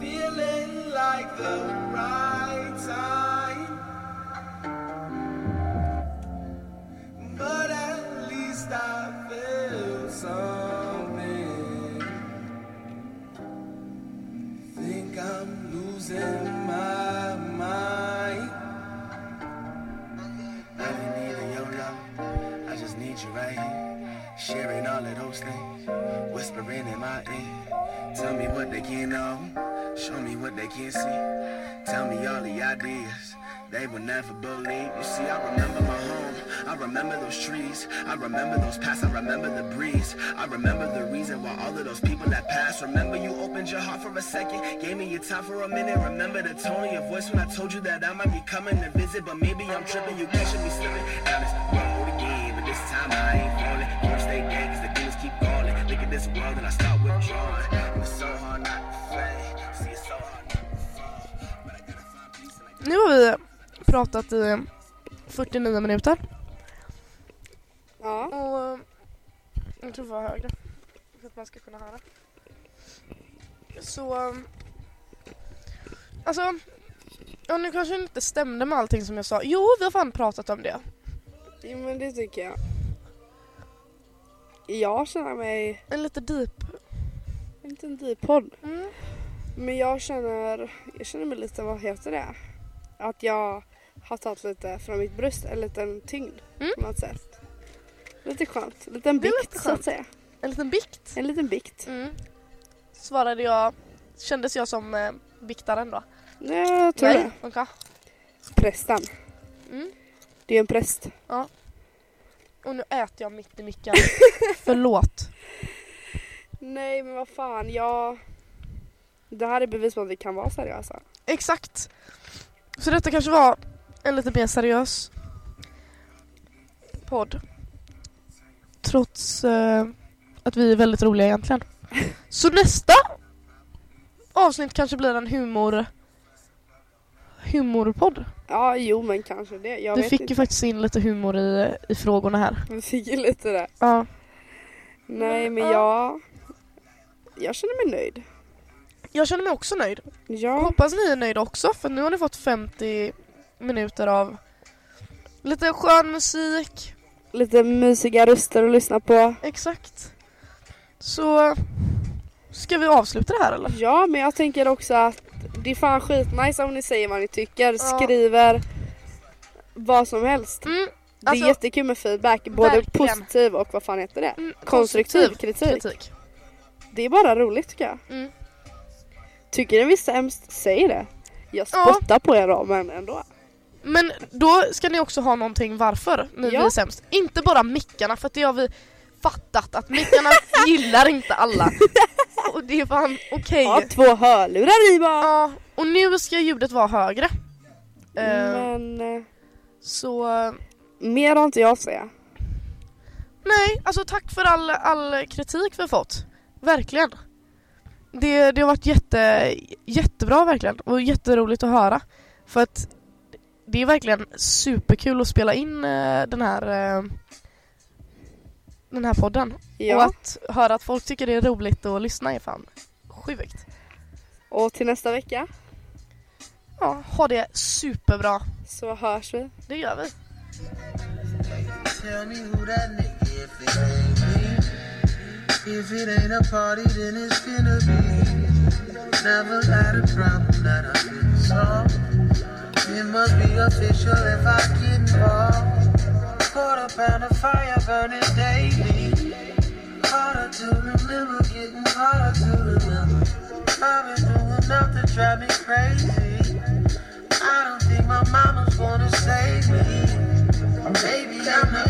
[SPEAKER 5] Feeling like the right time. But at least I feel something. Think I'm losing my mind. I didn't need a yo yo. I just need you right here. Sharing all of those things. Whispering in my ear. Tell me what they can't know. Show me what they can't see. Tell me all the ideas. They will never believe. You see, I remember my home. I remember those trees. I remember those paths. I remember the breeze. I remember the reason why all of those people that passed. Remember you opened your heart for a second. Gave me your time for a minute. Remember the tone of your voice when I told you that I might be coming to visit. But maybe I'm tripping. You catching me slipping. Down this road again. But this time I ain't falling. Can't stay down 'cause the demons keep calling. Look at this world and I start withdrawing. It's so hard not to play. See, it's so hard not to fall. But I gotta find peace and I
[SPEAKER 2] Nu har vi pratat i 49 minuter.
[SPEAKER 4] Ja.
[SPEAKER 2] Och eh, jag tror det var högre. För att man ska kunna höra. Så... eh, Alltså... Ja, nu kanske det inte stämde med allting som jag sa. Jo, vi har fan pratat om det.
[SPEAKER 4] Jo men det tycker jag. Jag känner mig,
[SPEAKER 2] En lite deep.
[SPEAKER 4] en liten dipodd.
[SPEAKER 2] Mm.
[SPEAKER 4] Men jag känner, jag känner mig lite, vad heter det? Att jag har tagit lite från mitt bröst, en liten tyngd
[SPEAKER 2] Mm.
[SPEAKER 4] på något sätt. Lite skönt, en liten
[SPEAKER 2] Det är
[SPEAKER 4] bikt
[SPEAKER 2] lite
[SPEAKER 4] så att
[SPEAKER 2] skönt.
[SPEAKER 4] säga.
[SPEAKER 2] En liten bikt.
[SPEAKER 4] En liten bikt.
[SPEAKER 2] Mm. Svarade jag... Kändes jag som eh, biktaren då?
[SPEAKER 4] Nej, jag tror det.
[SPEAKER 2] Okej.
[SPEAKER 4] prästen.
[SPEAKER 2] Mm.
[SPEAKER 4] Det är en präst.
[SPEAKER 2] Och nu äter jag mitt i micken. Förlåt.
[SPEAKER 4] Nej men vad fan, jag... Det här är bevis på att vi kan vara seriösa.
[SPEAKER 2] Exakt. Så detta kanske var en lite mer seriös podd. Trots eh, att vi är väldigt roliga
[SPEAKER 4] (laughs)
[SPEAKER 2] egentligen. Så nästa avsnitt kanske blir en humor humorpodd.
[SPEAKER 4] Ja, jo men kanske det. Jag
[SPEAKER 2] Du
[SPEAKER 4] vet
[SPEAKER 2] fick
[SPEAKER 4] inte.
[SPEAKER 2] ju faktiskt in lite humor i, i frågorna här.
[SPEAKER 4] Vi fick ju lite det.
[SPEAKER 2] Ja.
[SPEAKER 4] Nej men
[SPEAKER 2] ja.
[SPEAKER 4] jag... Jag känner mig nöjd.
[SPEAKER 2] Jag känner mig också nöjd. Jag
[SPEAKER 4] Ja,
[SPEAKER 2] hoppas ni är nöjda också för nu har ni fått 50 minuter av lite skön musik,
[SPEAKER 4] lite mysiga röster att lyssna på.
[SPEAKER 2] Exakt. Så ska vi avsluta det här eller?
[SPEAKER 4] Ja, men jag tänker också att det är fan skitnice om ni säger vad ni tycker,
[SPEAKER 2] Ja.
[SPEAKER 4] skriver vad som helst.
[SPEAKER 2] Mm,
[SPEAKER 4] Det
[SPEAKER 2] Alltså-
[SPEAKER 4] är jättekul med feedback, både
[SPEAKER 2] Verkligen.
[SPEAKER 4] positiv och vad fan heter det?
[SPEAKER 2] mm,
[SPEAKER 4] Konstruktiv kritik.
[SPEAKER 2] kritik.
[SPEAKER 4] Det är bara roligt tycker jag.
[SPEAKER 2] Mm.
[SPEAKER 4] Tycker ni vi är sämst, säg det. Jag
[SPEAKER 2] Ja.
[SPEAKER 4] spottar på er då, men ändå.
[SPEAKER 2] Men då ska ni också ha någonting varför ni
[SPEAKER 4] Ja.
[SPEAKER 2] blir sämst. Inte bara mickarna för att det har vi fattat att mickarna (laughs) gillar inte
[SPEAKER 4] (laughs)
[SPEAKER 2] alla. Och det är fan okej.
[SPEAKER 4] Ha två hörlurar i bara!
[SPEAKER 2] Ja, och nu ska ljudet vara högre. Eh,
[SPEAKER 4] Men eh,
[SPEAKER 2] Så
[SPEAKER 4] mer har inte jag att säga.
[SPEAKER 2] nej, alltså tack för all, all kritik vi har fått. Verkligen. Det, det har varit jätte, jättebra verkligen och jätteroligt att höra. För att det är verkligen superkul att spela in eh, den här eh, den här podden. Och
[SPEAKER 4] Ja.
[SPEAKER 2] att höra att folk tycker det är roligt att lyssna är fan sjukt.
[SPEAKER 4] Och till nästa vecka
[SPEAKER 2] Ja, ha det superbra.
[SPEAKER 4] så hörs vi.
[SPEAKER 2] Det gör vi.
[SPEAKER 5] Tell me who that nigga if it ain't me. If it ain't a party, then it's gonna be. Never had a problem that I couldn't solve. It must be official if I get involved. Quarter pound of fire burning daily. Harder to remember, getting harder to remember. I've been doing enough to drive me crazy. I don't think my mama's gonna save me. Maybe I'm the